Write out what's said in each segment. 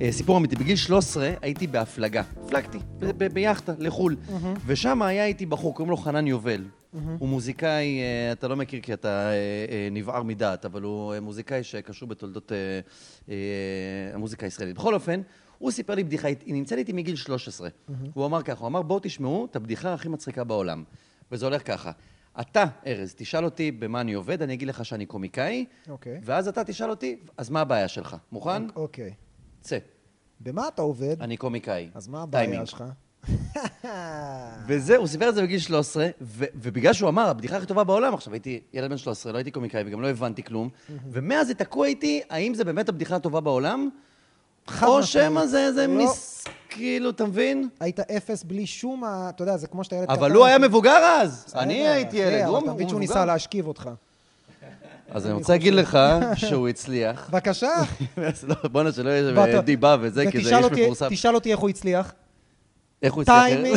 אה, סיפור אמיתי, בגיל 13 הייתי בהפלגה. הפלגתי, ב- ב- ביאכטה, לחו"ל. ושם היה איתי בחור, קוראים לו חנן יובל. הוא מוזיקאי, אה, אתה לא מכיר כי אתה אה, אה, נבער מדעת, אבל הוא אה, מוזיקאי שקשור בתולדות אה, אה, המוזיקה הישראלית. בכל אופן, הוא סיפר לי בדיחה, היא נמצאת איתי מגיל 13. הוא אמר ככה, הוא אמר, בואו תשמעו את הבדיחה הכי מצחיקה בעולם. וזה הולך ככה. אתה, ארז, תשאל אותי במה אני עובד, אני אגיד לך שאני קומיקאי, אוקיי. ואז אתה תשאל אותי, אז מה הבעיה שלך? מוכן? אוקיי. צא. במה אתה עובד? אני קומיקאי. אז מה טיימינג. הבעיה שלך? וזה, הוא סיפר את זה בגיל 13, ו- ובגלל שהוא אמר, הבדיחה הכי טובה בעולם, עכשיו הייתי ילד בן 13, לא הייתי קומיקאי וגם לא הבנתי כלום, ומאז זה תקוע איתי, האם זה באמת הבדיחה הטובה בעולם, חד או משמעית. שמא זה, זה לא. מיס... כאילו, אתה מבין? היית אפס בלי שום ה... אתה יודע, זה כמו שאתה ילד אבל הוא היה אחי. מבוגר אז, אני בסדר, הייתי אחי, ילד, הוא אה, אבל אתה הוא מבין שהוא מבוגר. ניסה להשכיב אותך. אז אני רוצה להגיד לך שהוא הצליח. בבקשה. אז לא, בואנה, שלא יהיה שם ואתה- דיבה וזה, כי זה ותשאל איש אותי- מפורסם. תשאל אותי איך הוא הצליח. איך הוא הצליח? טיימינג.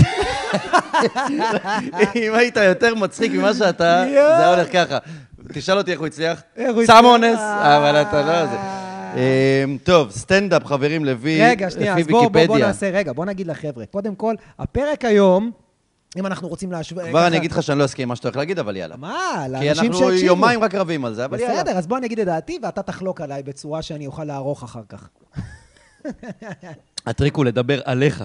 אם היית יותר מצחיק ממה שאתה, אה. יואו. זה היה הולך ככה. תשאל אותי איך הוא הצליח. איך הוא סם הצליח? אונס, אבל אתה לא... זה. אה. אמ, טוב, סטנדאפ, חברים, לפי רגע, שנייה, לפי אז בואו בוא, בוא ויקיפדיה. נעשה, רגע, בואו נגיד לחבר'ה. קודם כל, הפרק היום, אם אנחנו רוצים להשוות... כבר אני אגיד לך שאני לא אסכים עם מה שאתה הולך להגיד, אבל יאללה. מה? כי לאנשים אנחנו שהקשיבו. יומיים רק רבים על זה, אבל יאללה. בסדר, אז בוא אני אגיד את דעתי, ואתה תחלוק עליי בצורה שאני אוכל לערוך אחר כך. הטריק הוא לדבר עליך,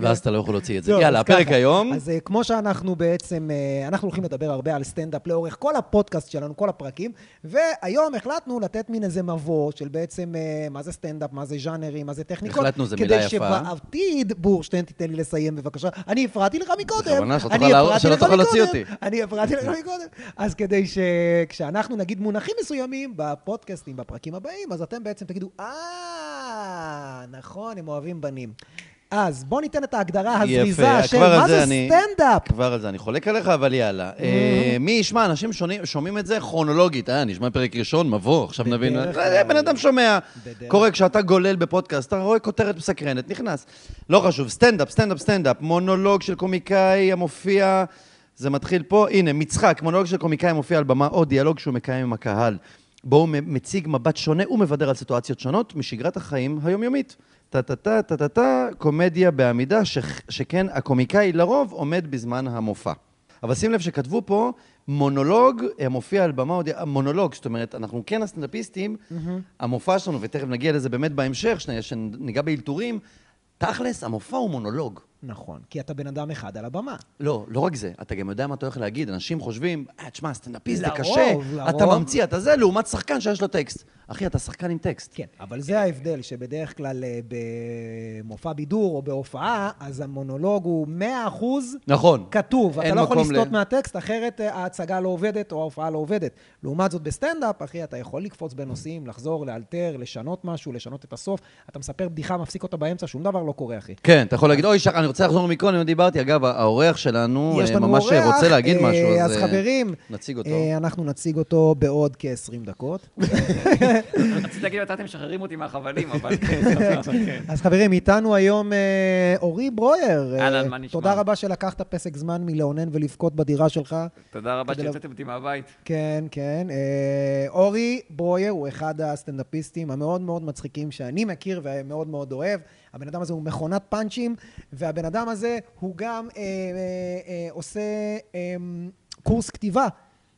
ואז אתה לא יכול להוציא את זה. טוב, יאללה, אז הפרק ככה. היום, אז אה, כמו שאנחנו בעצם, אה, אנחנו הולכים לדבר הרבה על סטנדאפ לאורך כל הפודקאסט שלנו, כל הפרקים, והיום החלטנו לתת מין איזה מבוא של בעצם אה, מה זה סטנדאפ, מה זה ז'אנרים, מה זה טכניקות. החלטנו, זו מילה יפה. כדי שבעתיד, בורשטיין, תיתן לי לסיים בבקשה. אני הפרעתי לך מקודם. בכוונה, שלא אני תוכל לה- הפרעתי שלא לך תוכל להוציא מקודם. אותי. אני הפרעתי לך מקודם. אז כדי שכשאנחנו נגיד מונחים מסוימים בפודקאסטים, בפרקים הבאים, אז אתם בעצם תגידו, אה, נכון, הם אוהבים בנים. אה, אז בואו ניתן את ההגדרה הזריזה יפה, של כבר על מה זה אני- סטנדאפ. כבר על זה אני חולק עליך, אבל יאללה. אה, מי ישמע, אנשים שונים- שומעים את זה כרונולוגית. אה, נשמע פרק ראשון, מבוא, עכשיו נבין. בדרך אה, בן אדם שומע. בדרך קורה כשאתה גולל בפודקאסט, אתה רואה כותרת מסקרנת, נכנס. לא חשוב, סטנדאפ, סטנדאפ, סטנדאפ. מונולוג של קומיקאי המופיע... זה מתחיל פה, הנה, מצחק, מונולוג של קומיקאי המופיע על במה, או דיאלוג שהוא מקיים עם הקהל. בו הוא מ- מציג מבט שונה ומבדר על סיטואציות שונות משגרת החיים היומיומית. טה-טה-טה-טה-טה, קומדיה בעמידה, ש- שכן הקומיקאי לרוב עומד בזמן המופע. אבל שים לב שכתבו פה מונולוג המופיע על במה, עוד- אה, מונולוג, זאת אומרת, אנחנו כן הסטנדאפיסטים, המופע שלנו, ותכף נגיע לזה באמת בהמשך, שנייה, שניגע באלתורים, תכלס, המופע הוא מונולוג. נכון, כי אתה בן אדם אחד על הבמה. לא, לא רק זה, אתה גם יודע מה אתה הולך להגיד. אנשים חושבים, אה, תשמע, סטנדאפיסט זה לרוב, קשה, לרוב. אתה ממציא, אתה זה, לעומת שחקן שיש לו טקסט. אחי, אתה שחקן עם טקסט. כן, אבל זה ההבדל, שבדרך כלל אה, במופע בידור או בהופעה, אז המונולוג הוא 100% נכון. כתוב. אתה אין לא יכול מקום ל- לסטות מהטקסט, אחרת אה, ההצגה לא עובדת או ההופעה לא עובדת. לעומת זאת, בסטנדאפ, אחי, אתה יכול לקפוץ בין נושאים, לחזור, לאלתר, לשנות משהו, לשנות את הסוף. אתה מספר בדיחה, מפסיק אותה באמצע, שום דבר לא קורה, אחי. כן, אתה יכול להגיד, אוי, שחר, אני רוצה לחזור מקודם, לא דיברתי. אגב, האורח שלנו יש אה, לנו ממש אורח, רוצה להגיד אה, משהו, אז אה, חברים, נציג אותו. אה, אנחנו נציג אותו בעוד כ-20 דקות. רציתי להגיד מתי אתם משחררים אותי מהחבלים, אבל כן, סבבה, כן. אז חברים, איתנו היום אה, אורי ברויר. אה, אהלן, מה נשמע? תודה רבה שלקחת פסק זמן מלאונן ולבכות בדירה שלך. תודה רבה כדי לב- שהוצאתם אותי מהבית. כן, כן. אה, אורי ברויר הוא אחד הסטנדאפיסטים המאוד מאוד מצחיקים שאני מכיר ומאוד מאוד אוהב. הבן אדם הזה הוא מכונת פאנצ'ים, והבן אדם הזה הוא גם אה, אה, אה, עושה אה, קורס כתיבה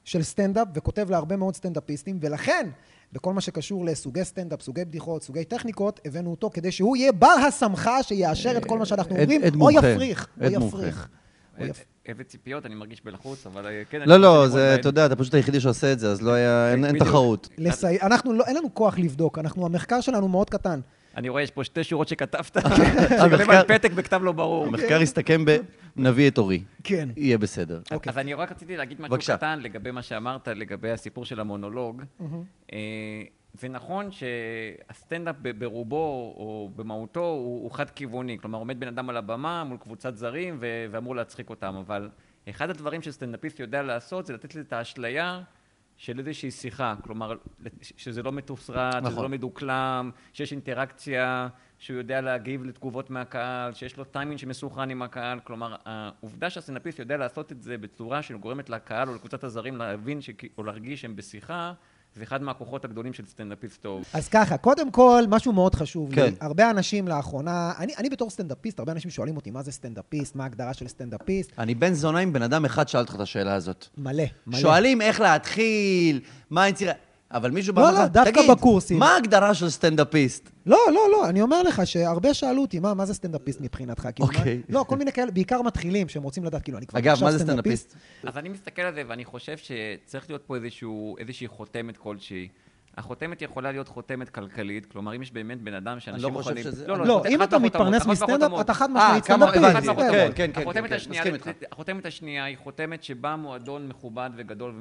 של סטנדאפ וכותב להרבה מאוד סטנדאפיסטים, ולכן... בכל מה שקשור לסוגי סטנדאפ, סוגי בדיחות, סוגי טכניקות, הבאנו אותו כדי שהוא יהיה בר הסמכה שיאשר את כל מה שאנחנו עד- אומרים, עד או מומחה. יפריך, או עד מומחה. יפריך. או יפ- איזה ציפיות, אני מרגיש בלחוץ, אבל אה, כן. לא, אני לא, רוצה זה, לראות אתה יודע, אתה פשוט היחידי שעושה את זה, אז לא היה, אין אין בדיוק. תחרות. לסי... אנחנו לא, אין לנו כוח לבדוק, אנחנו, המחקר שלנו מאוד קטן. אני רואה, יש פה שתי שורות שכתבת, שכותב על פתק בכתב לא ברור. המחקר יסתכם ב... נביא את אורי. אוקיי. כן. יהיה בסדר. אז אני רק רציתי להגיד משהו אוקיי. בבקשה. Mm-hmm. קטן לגבי מה שאמרת, לגבי הסיפור של המונולוג. אה, זה נכון שהסטנדאפ ב- ברובו, או במהותו, הוא הוא חד-כיווני. כלומר, עומד בן אדם על הבמה מול קבוצת זרים ו- ואמור להצחיק אותם, אבל אחד הדברים שסטנדאפיסט יודע לעשות זה לתת לי את האשליה של איזושהי שיחה. כלומר, ש- שזה לא מתוסרט, שזה נכון. לא מדוקלם, שיש אינטראקציה, שהוא יודע להגיב לתגובות מהקהל, שיש לו טיימינג שמסונכרן עם הקהל. כלומר, העובדה שהסטנדאפיסט יודע לעשות את זה בצורה שגורמת לקהל או לקבוצת הזרים להבין שכי- או להרגיש שהם בשיחה, זה אחד מהכוחות הגדולים של סטנדאפיסט טוב. אז ככה, קודם כל, משהו מאוד חשוב כן. כן. לי. הרבה אנשים לאחרונה, אני, אני בתור סטנדאפיסט, הרבה אנשים שואלים אותי מה זה סטנדאפיסט, מה ההגדרה של סטנדאפיסט. אני בן זונה עם בן אדם אחד שאל אותך את השאלה הזאת. מלא, מלא. שואלים איך להתחיל, מה היצירה... אבל מישהו לא, בא לא, לך, דווקא תגיד, בקורסים." מה ההגדרה של סטנדאפיסט? לא, לא, לא, אני אומר לך שהרבה שאלו אותי, מה, מה זה סטנדאפיסט מבחינתך? כאילו, אוקיי. מה, לא, כל מיני כאלה, בעיקר מתחילים, שהם רוצים לדעת, כאילו, אני כבר אגב, עכשיו מה זה סטנדאפיסט? אז אני מסתכל על זה ואני חושב שצריך להיות פה איזשהו, איזושהי חותמת כלשהי. החותמת יכולה להיות חותמת כלכלית, כלומר, אם יש באמת בן אדם לא שאנשים חושב מוכנים... שזה- לא, זה אם חד אתה מהחותמות, מתפרנס אחת מהחותמות. מסטנדאפ, אתה חד אה, משמעית כמה- סטנדאפיסט. הבנתי, אתה כן, יכול. כן, כן, החותמת כן, השנייה, מסכים איתך. החותמת השנייה היא חותמת שבא מועדון מכובד וגדול,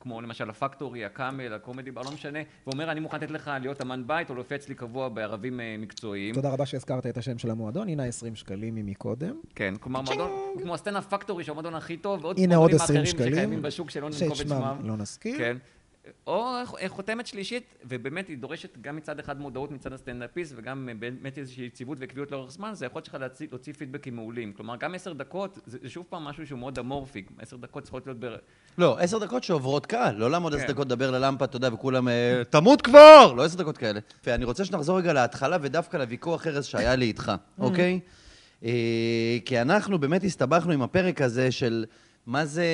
כמו למשל הפקטורי, הקאמל, הקומדי, בר, לא משנה, ואומר, אני מוכן לתת לך להיות אמן בית או להופיע אצלי קבוע בערבים אה, מקצועיים. תודה רבה שהזכרת את השם של המועדון, הנה ה-20 שקלים ממקודם. כן, כלומר, מועדון, כמו הסצנה פקטורי, שהוא המועדון הכי טוב, ועוד הנה עוד מועדונים 20 אחרים שקלים. שקיימים בשוק שלא שאת ננקוב את שמם שמם. לא נזכיר. כן. או ח- חותמת שלישית, ובאמת היא דורשת גם מצד אחד מודעות מצד הסטנדאפיסט, וגם אה, באמת איזושהי יציבות וקביעות לאורך זמן, זה היכולת שלך להוציא, להוציא פידבקים מעולים. כלומר, גם עשר דקות, זה, זה שוב פעם משהו שהוא מאוד אמורפי. עשר דקות צריכות להיות בר... לא, עשר דקות שעוברות קל, לא לעמוד עשר כן. דקות לדבר ללמפה, אתה יודע, וכולם, אה, תמות כבר! לא עשר דקות כאלה. ואני רוצה שנחזור רגע להתחלה ודווקא לוויכוח ארז שהיה לי איתך, Mm. אוקיי? אה, כי אנחנו באמת הסתבכנו עם הפרק הזה של מה זה,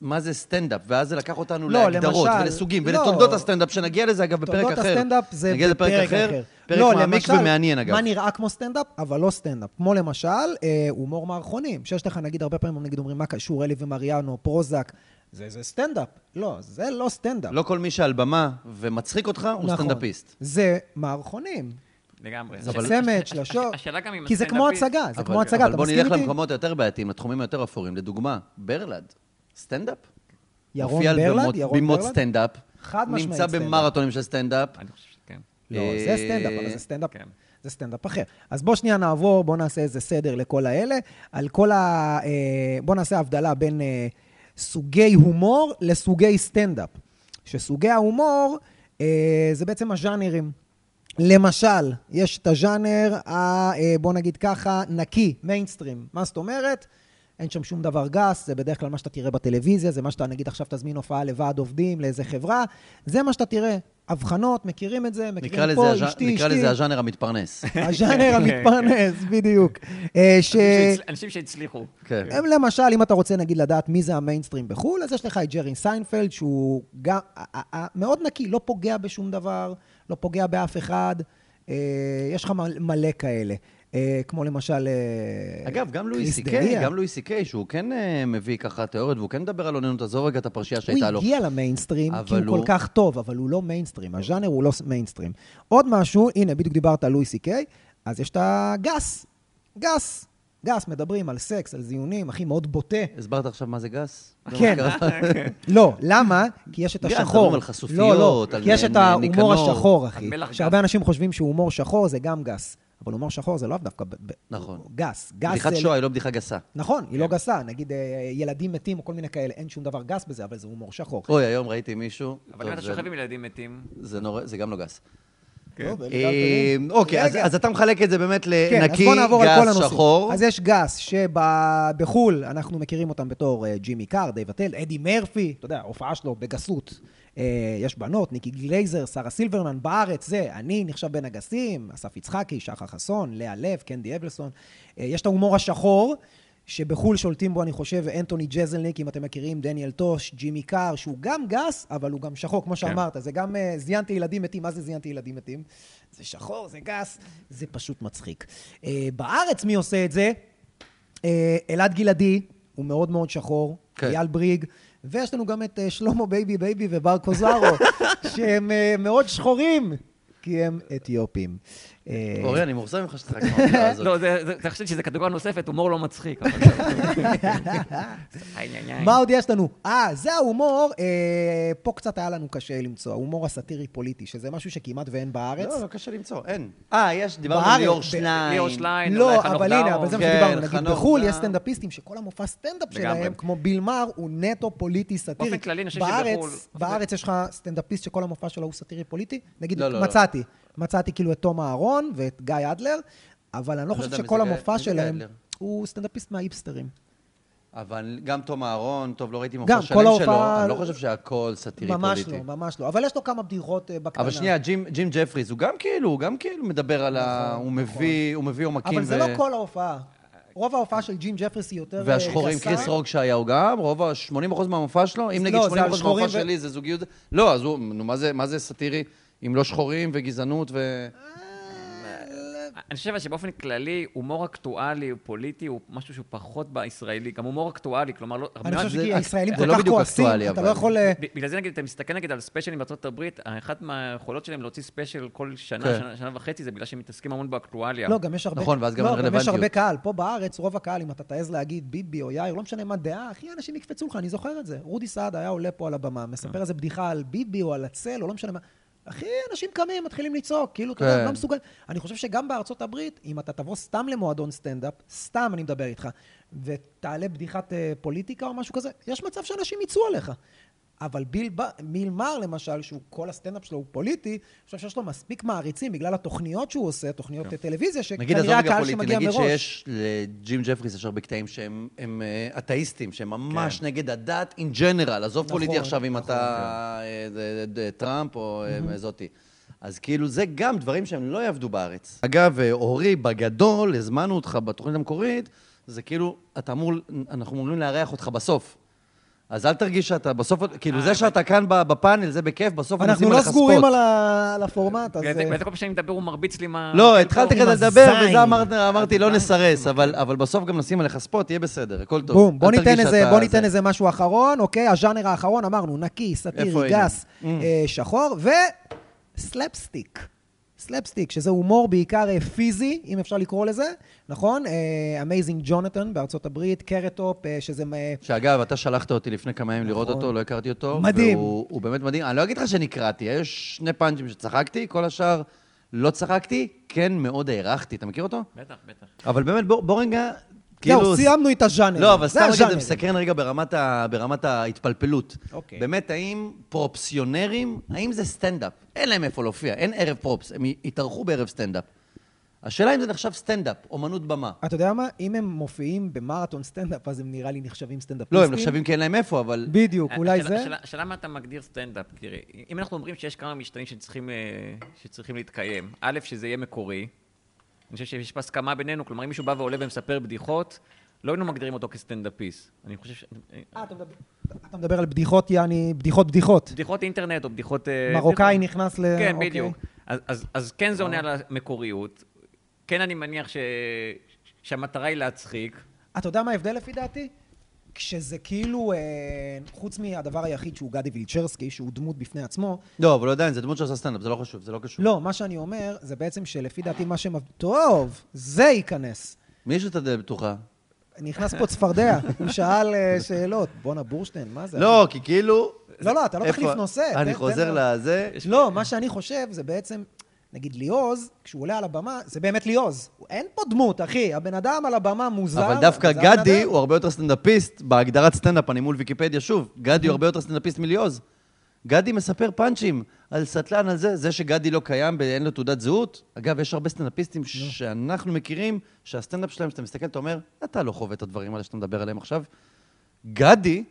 מה זה סטנדאפ, ואז זה לקח אותנו לא, להגדרות למשל, ולסוגים לא. ולתולדות הסטנדאפ, שנגיע לזה אגב בפרק אחר. תולדות הסטנדאפ זה לא, נגיע לזה בפרק אחר. פרק מעמיק למשל, ומעניין אגב. מה נראה כמו סטנדאפ, אבל לא סטנדאפ. כמו למשל, אה, הומור מערכונים, שיש לך נגיד הרבה פעמים, נגיד אומרים, מה קשור אלי ומריאנו, פרוזק, זה, זה סטנדאפ. לא, זה לא סטנדאפ. לא כל מי שעל במה ומצחיק אותך הוא נכון. סטנדאפיסט. זה מערכונים. לגמרי. אבל- סמט, שלשות. השאלה גם אם כי זה כמו הסטנדאפיסט- הצגה, זה אבל- כמו הצגה, אבל אתה בוא מסכים נלך איתי? למקומות היותר בעייתיים, לתחומים היותר אפורים. לדוגמה, ברלד, סטנדאפ. ירון מופיע על ברלד? במות- ירון במות ברלד? סטנדאפ. חד משמעית נמצא סטנדאפ. במרתונים של סטנדאפ. אה, אני חושב כן. שכן. לא, אה, זה סטנדאפ, אבל זה סטנדאפ, כן. זה סטנדאפ אחר. אז בוא שנייה נעבור, בוא נעשה איזה סדר לכל האלה, על כל ה... אה, בוא נעשה הבדלה בין אה, סוגי הומור לסוגי סטנדאפ. שסוגי ההומור אה, זה בעצם הז'אנרים. למשל, יש את הז'אנר, ה- אה, בוא נגיד ככה, נקי, מיינסטרים. מה זאת אומרת? אין שם שום דבר גס, זה בדרך כלל מה שאתה תראה בטלוויזיה, זה מה שאתה, נגיד עכשיו תזמין הופעה לוועד עובדים, לאיזה חברה, זה מה שאתה תראה. אבחנות, מכירים את זה, נקרא מכירים לזה פה, הז'אנ- אשתי, נקרא לזה אשתי. הז'אנר המתפרנס. הז'אנר המתפרנס, בדיוק. אה, ש... אנשים שהצל- אנשים שהצליחו. כן. הם למשל, אם אתה רוצה נגיד לדעת מי זה המיינסטרים בחו"ל, אז יש לך את ג'רי סיינפלד, שהוא גם ה- ה- ה- מאוד נקי, לא פוגע בשום דבר, לא פוגע באף אחד. אה, יש לך מל- מלא כאלה. אה, כמו למשל... אה, אגב, גם לואי קריס סי דריה. קיי, גם לואי סי קיי, שהוא כן אה, מביא ככה תיאוריות, והוא כן מדבר על אוננות, עזוב רגע את הפרשייה שהייתה לו. הוא הגיע למיינסטרים, כי אבל הוא כל הוא- כך טוב, אבל הוא לא מיינסטרים, הז'אנר הוא לא ס- מיינסטרים. עוד משהו, הנה, בדיוק דיברת על לואי סי קיי, אז יש את הגס, גס, גס, מדברים על סקס, על זיונים, אחי, מאוד בוטה. הסברת עכשיו מה זה גס? זה מה כן. שקרה? לא, למה? כי יש את גס, השחור. מדברים על חשופיות, לא, לא, על כי יש את נ- ההומור ניקנור, השחור, על אחי. מלח גס. שהרבה אנשים חושבים שהומור שחור זה גם גס, אבל הומור שחור זה לאו דווקא ב- ב- נכון. גס. גס בדיחת כן. זה- שואה היא לא בדיחה גסה. נכון, היא לא גסה. נגיד אה, ילדים מתים או כל מיני כאלה, אין שום דבר גס בזה, אבל זה הומור שחור. אוי, היום ראיתי מישהו. אבל טוב, אם אתה זה- שוכב עם ילדים מתים... זה נורא- זה גם לא גס. לא, בליגה אה, הגדולים. אוקיי, אז- רגע. אז אתה מחלק את זה באמת כן, אז לנקי, בוא נעבור על כל גס, הנושאים. שחור. אז יש גס, שבחו"ל אנחנו מכירים אותם בתור אה, ג'ימי קאר, דייב אטל, אדי מרפי, אתה יודע, ההופעה שלו בגסות. אה, יש בנות, ניקי גלייזר, שרה סילברמן, בארץ, זה, אני נחשב בין הגסים, אסף יצחקי, שחר חסון, לאה לב, קנדי אבלסון. אה, יש את ההומור השחור. שבחו"ל שולטים בו, אני חושב, אנטוני ג'זלניק, אם אתם מכירים, דניאל טוש, ג'ימי קאר, שהוא גם גס, אבל הוא גם שחור, כן. כמו שאמרת. זה גם אה, זיינתי ילדים מתים, מה זה זיינתי ילדים מתים? זה שחור, זה גס, זה פשוט מצחיק. אה, בארץ מי עושה את זה? אה, אלעד גלעדי, הוא מאוד מאוד שחור, כן. אייל בריג, ויש לנו גם את אה, שלמה בייבי בייבי ובר קוזרו, שהם אה, מאוד שחורים, כי הם אתיופים. אה, אורי, אני מאוכזב ממך שצחק מהעבודה הזאת. לא, זה- זה- תחשוב שזה קטגוריה נוספת, הומור לא מצחיק. אבל- איי, איי, כן. איי. מה עוד יש לנו? אה, זה ההומור, אה, פה קצת היה לנו קשה למצוא, ההומור הסאטירי-פוליטי, שזה משהו שכמעט ואין בארץ. לא, לא קשה למצוא, אין. אה, יש, דיברנו בארץ, על ליאור ב- שליין. ליאור שליין, אולי לא, חנוך אבל הנה, דאום. אבל זה מה כן, שדיברנו. נגיד חנוך בחו"ל דאום. יש סטנדאפיסטים שכל המופע סטנדאפ לגמרי. שלהם, כמו בילמר, הוא נטו פוליטי סאטירי. באופן כללי, אני חושב בארץ- שבחו"ל- בארץ יש לך סטנדאפיסט שכל המופע שלו הוא סאטירי פוליטי? נגיד, לא, לא, לא. מצאתי. מצאתי כאילו את תום אהרון ואת גיא אדלר, אבל אני לא אני לא חושב יודע מי זה שכל גיא- המופע מי זה גיא שלהם אדלר? הוא סטנדאפיסט מהאיפסטרים. אבל גם תום אהרון, טוב, לא ראיתי לא. גם, מופע כל שלם שלו, ההופעה- אני לא חושב שהכל סאטירי ממש פוליטי. לא, ממש לא. אבל יש לו כמה בדיחות אה, בקטנה. אבל שנייה, ג'ים, ג'ים ג'פריס, הוא גם כאילו, הוא גם כאילו מדבר על ה... נכון, הוא מביא, הוא מביא עומקים אבל זה לא כל ההופעה. רוב ההופעה של ג'ים ג'פריס היא יותר אה, והשחורים, גסה. קריס רוק שהיה הוא גם, רוב ה-80% מהמופע שלו, אם לא, נגיד זה 80% על שחורים מהמופע ו- שלי זה זוגיות, לא, אז הוא, נו, מה זה- מה זה סאטירי אם לא שחורים וגזענות ו... אני חושב שבאופן כללי, הומור אקטואלי, הוא פוליטי, הוא משהו שהוא פחות בישראלי, גם הומור אקטואלי, כלומר, לא... אני חושב זה- כי הישראלים זה כל לא כך בדיוק כועסים, אקטואלי, אתה אבל- לא יכול... אה, ב- בגלל זה נגיד, אתה מסתכל נגיד על ספיישלים בארצות הברית, אחת מהיכולות שלהם להוציא ספיישל כל שנה, כן. שנה, שנה וחצי, זה בגלל שהם מתעסקים המון באקטואליה. לא, גם יש הרבה... נכון, ואז גם אין לא, גם יש רלוונטיות. הרבה קהל. פה בארץ, רוב הקהל, אם אתה תעז להגיד ביבי או יאיר, לא משנה מה דעה, אחי, אנשים יקפצו לך, אני זוכר את זה. רודי סעד היה עולה פה על הבמה, מספר איזה בדיחה על ביבי או על הצל, או לא משנה מה. אחי, אנשים קמים, מתחילים לצעוק, כאילו, אתה יודע, כן. לא מסוגל... אני חושב שגם בארצות הברית, אם אתה תבוא סתם למועדון סטנדאפ, סתם אני מדבר איתך, ותעלה בדיחת אה, פוליטיקה או משהו כזה, יש מצב שאנשים יצאו עליך. אבל ביל, ב- ביל מר, למשל, שהוא כל הסטנדאפ שלו הוא פוליטי, אני חושב שיש לו מספיק מעריצים בגלל התוכניות שהוא עושה, תוכניות אה, טלוויזיה, ש... נגיד, עזוב כנראה רגע הקהל פוליטי, שמגיע נגיד מראש. שיש לג'ים ג'פריס, יש הרבה קטעים שהם הם, אה, אתאיסטים, שהם ממש נגד הדת אין ג'נרל. עזוב נכון, פוליטי עכשיו אם נכון, אתה אה, אה, אה, טראמפ או אה, זאתי. אז כאילו, זה גם דברים שהם לא יעבדו בארץ. אגב, אה, אורי, בגדול, הזמנו אותך בתוכנית המקורית, זה כאילו, אתה אמור, אנחנו אמורים לארח אותך בסוף. אז אל תרגיש שאתה בסוף, כאילו, זה שאתה כאן ב- בפאנל, זה בכיף, בסוף אנחנו מנסים לא עליך ספוט. סגורים על ה- על הפורמט, אז... ואתה אה, ואתה כל פעם שאני מדבר, הוא מרביץ לי מה... לא, התחלת עם כזה לדבר, הזין. וזה אמרת- אמרתי, אה, לא נסרס, אבל אבל בסוף גם נשים עליך ספוט, תהיה בסדר, הכל טוב. בום, בוא אל ניתן תרגיש איזה- שאתה- בוא זה. ניתן איזה משהו אחרון, אוקיי? הז'אנר האחרון, אמרנו, נקי, איפה Mm. סאטירי, היינו? גס, אה, שחור, וסלפסטיק. סלפסטיק, שזה הומור בעיקר אה, פיזי, אם אפשר לקרוא לזה, נכון? אמייזינג ג'ונתן בארצות הברית, קרטופ, אה, שזה... אה, שאגב, אתה שלחת אותי לפני כמה ימים לראות אותו, לא הכרתי אותו. נכון. מדהים. והוא הוא באמת מדהים. אני לא אגיד לך שנקרעתי, יש שני פאנצ'ים שצחקתי, כל השאר לא צחקתי, כן מאוד הערכתי. אתה מכיר אותו? בטח, בטח. אבל באמת, בוא בוא רגע, זהו, כאילו... סיימנו את הז'אנר. לא, אבל סתם רגע, זה הז'אנר. מסקרן רגע ברמת ה- ברמת ההתפלפלות. אוקיי. באמת, האם פרופסיונרים, האם זה סטנדאפ? אין להם איפה להופיע, אין ערב פרופס, הם התארחו בערב סטנדאפ. השאלה אם זה נחשב סטנדאפ, אומנות במה. אתה יודע מה? אם הם מופיעים במרתון סטנדאפ, אז הם נראה לי נחשבים סטנדאפיסטים. לא, הם נחשבים כי אין להם איפה, אבל... בדיוק, אולי אה, השאלה- זה... השאלה- השאלה מה אתה מגדיר סטנדאפ, תראה, אם אנחנו אומרים שיש כמה משתנים שצריכים, אה, שצריכים להתקיים, א', שזה יהיה מקורי, אני חושב שיש פה הסכמה בינינו, כלומר, אם מישהו בא ועולה ומספר בדיחות, לא היינו מגדירים אותו כסטנדאפיסט. אני חושב ש... אה, אתה מדבר- אתה מדבר על בדיחות, יעני, בדיחות בדיחות. בדיחות אינטרנט או בדיחות... אה, מרוקאי בדיחות- נכנס ל... כן, אוקיי. בדיוק. אז- אז- אז כן זה עונה על המקוריות, כן אני מניח ש- שהמטרה היא להצחיק. אתה יודע מה ההבדל לפי דעתי? כשזה כאילו, אה, חוץ מהדבר היחיד שהוא גדי וילצ'רסקי, שהוא דמות בפני עצמו, לא, אבל עדיין, זה דמות שעושה סטנדאפ, זה לא חשוב, זה לא קשור. לא, מה שאני אומר, זה בעצם שלפי דעתי מה שמב... טוב, זה ייכנס. מי יש את הדלת פתוחה? נכנס פה צפרדע, הוא שאל אה, שאלות. בואנה, בורשטיין, מה זה? לא, כי כאילו... לא, לא, אתה לא איפה- תחליף נושא, תן- אני תן חוזר לה. לזה. לא, מה שאני חושב זה בעצם, נגיד ליאוז, כשהוא עולה על הבמה, זה באמת ליאוז. אין פה דמות, אחי. הבן אדם על הבמה מוזר. אבל דווקא זה הבן גדי אדם. הוא הרבה יותר סטנדאפיסט, בהגדרת סטנדאפ, אני מול ויקיפדיה שוב, גדי הוא הרבה יותר סטנדאפיסט מליאוז. גדי מספר פאנצ'ים על סטלן, על זה, זה שגדי לא קיים ואין לו תעודת זהות. אגב, יש הרבה לא. סטנדאפיסטים שאנחנו מכירים, שהסטנדאפ שלהם, כשאתה מסתכל, אתה אומר, אתה לא חווה את הדברים האלה שאתה מדבר עליהם עכשיו. גדי,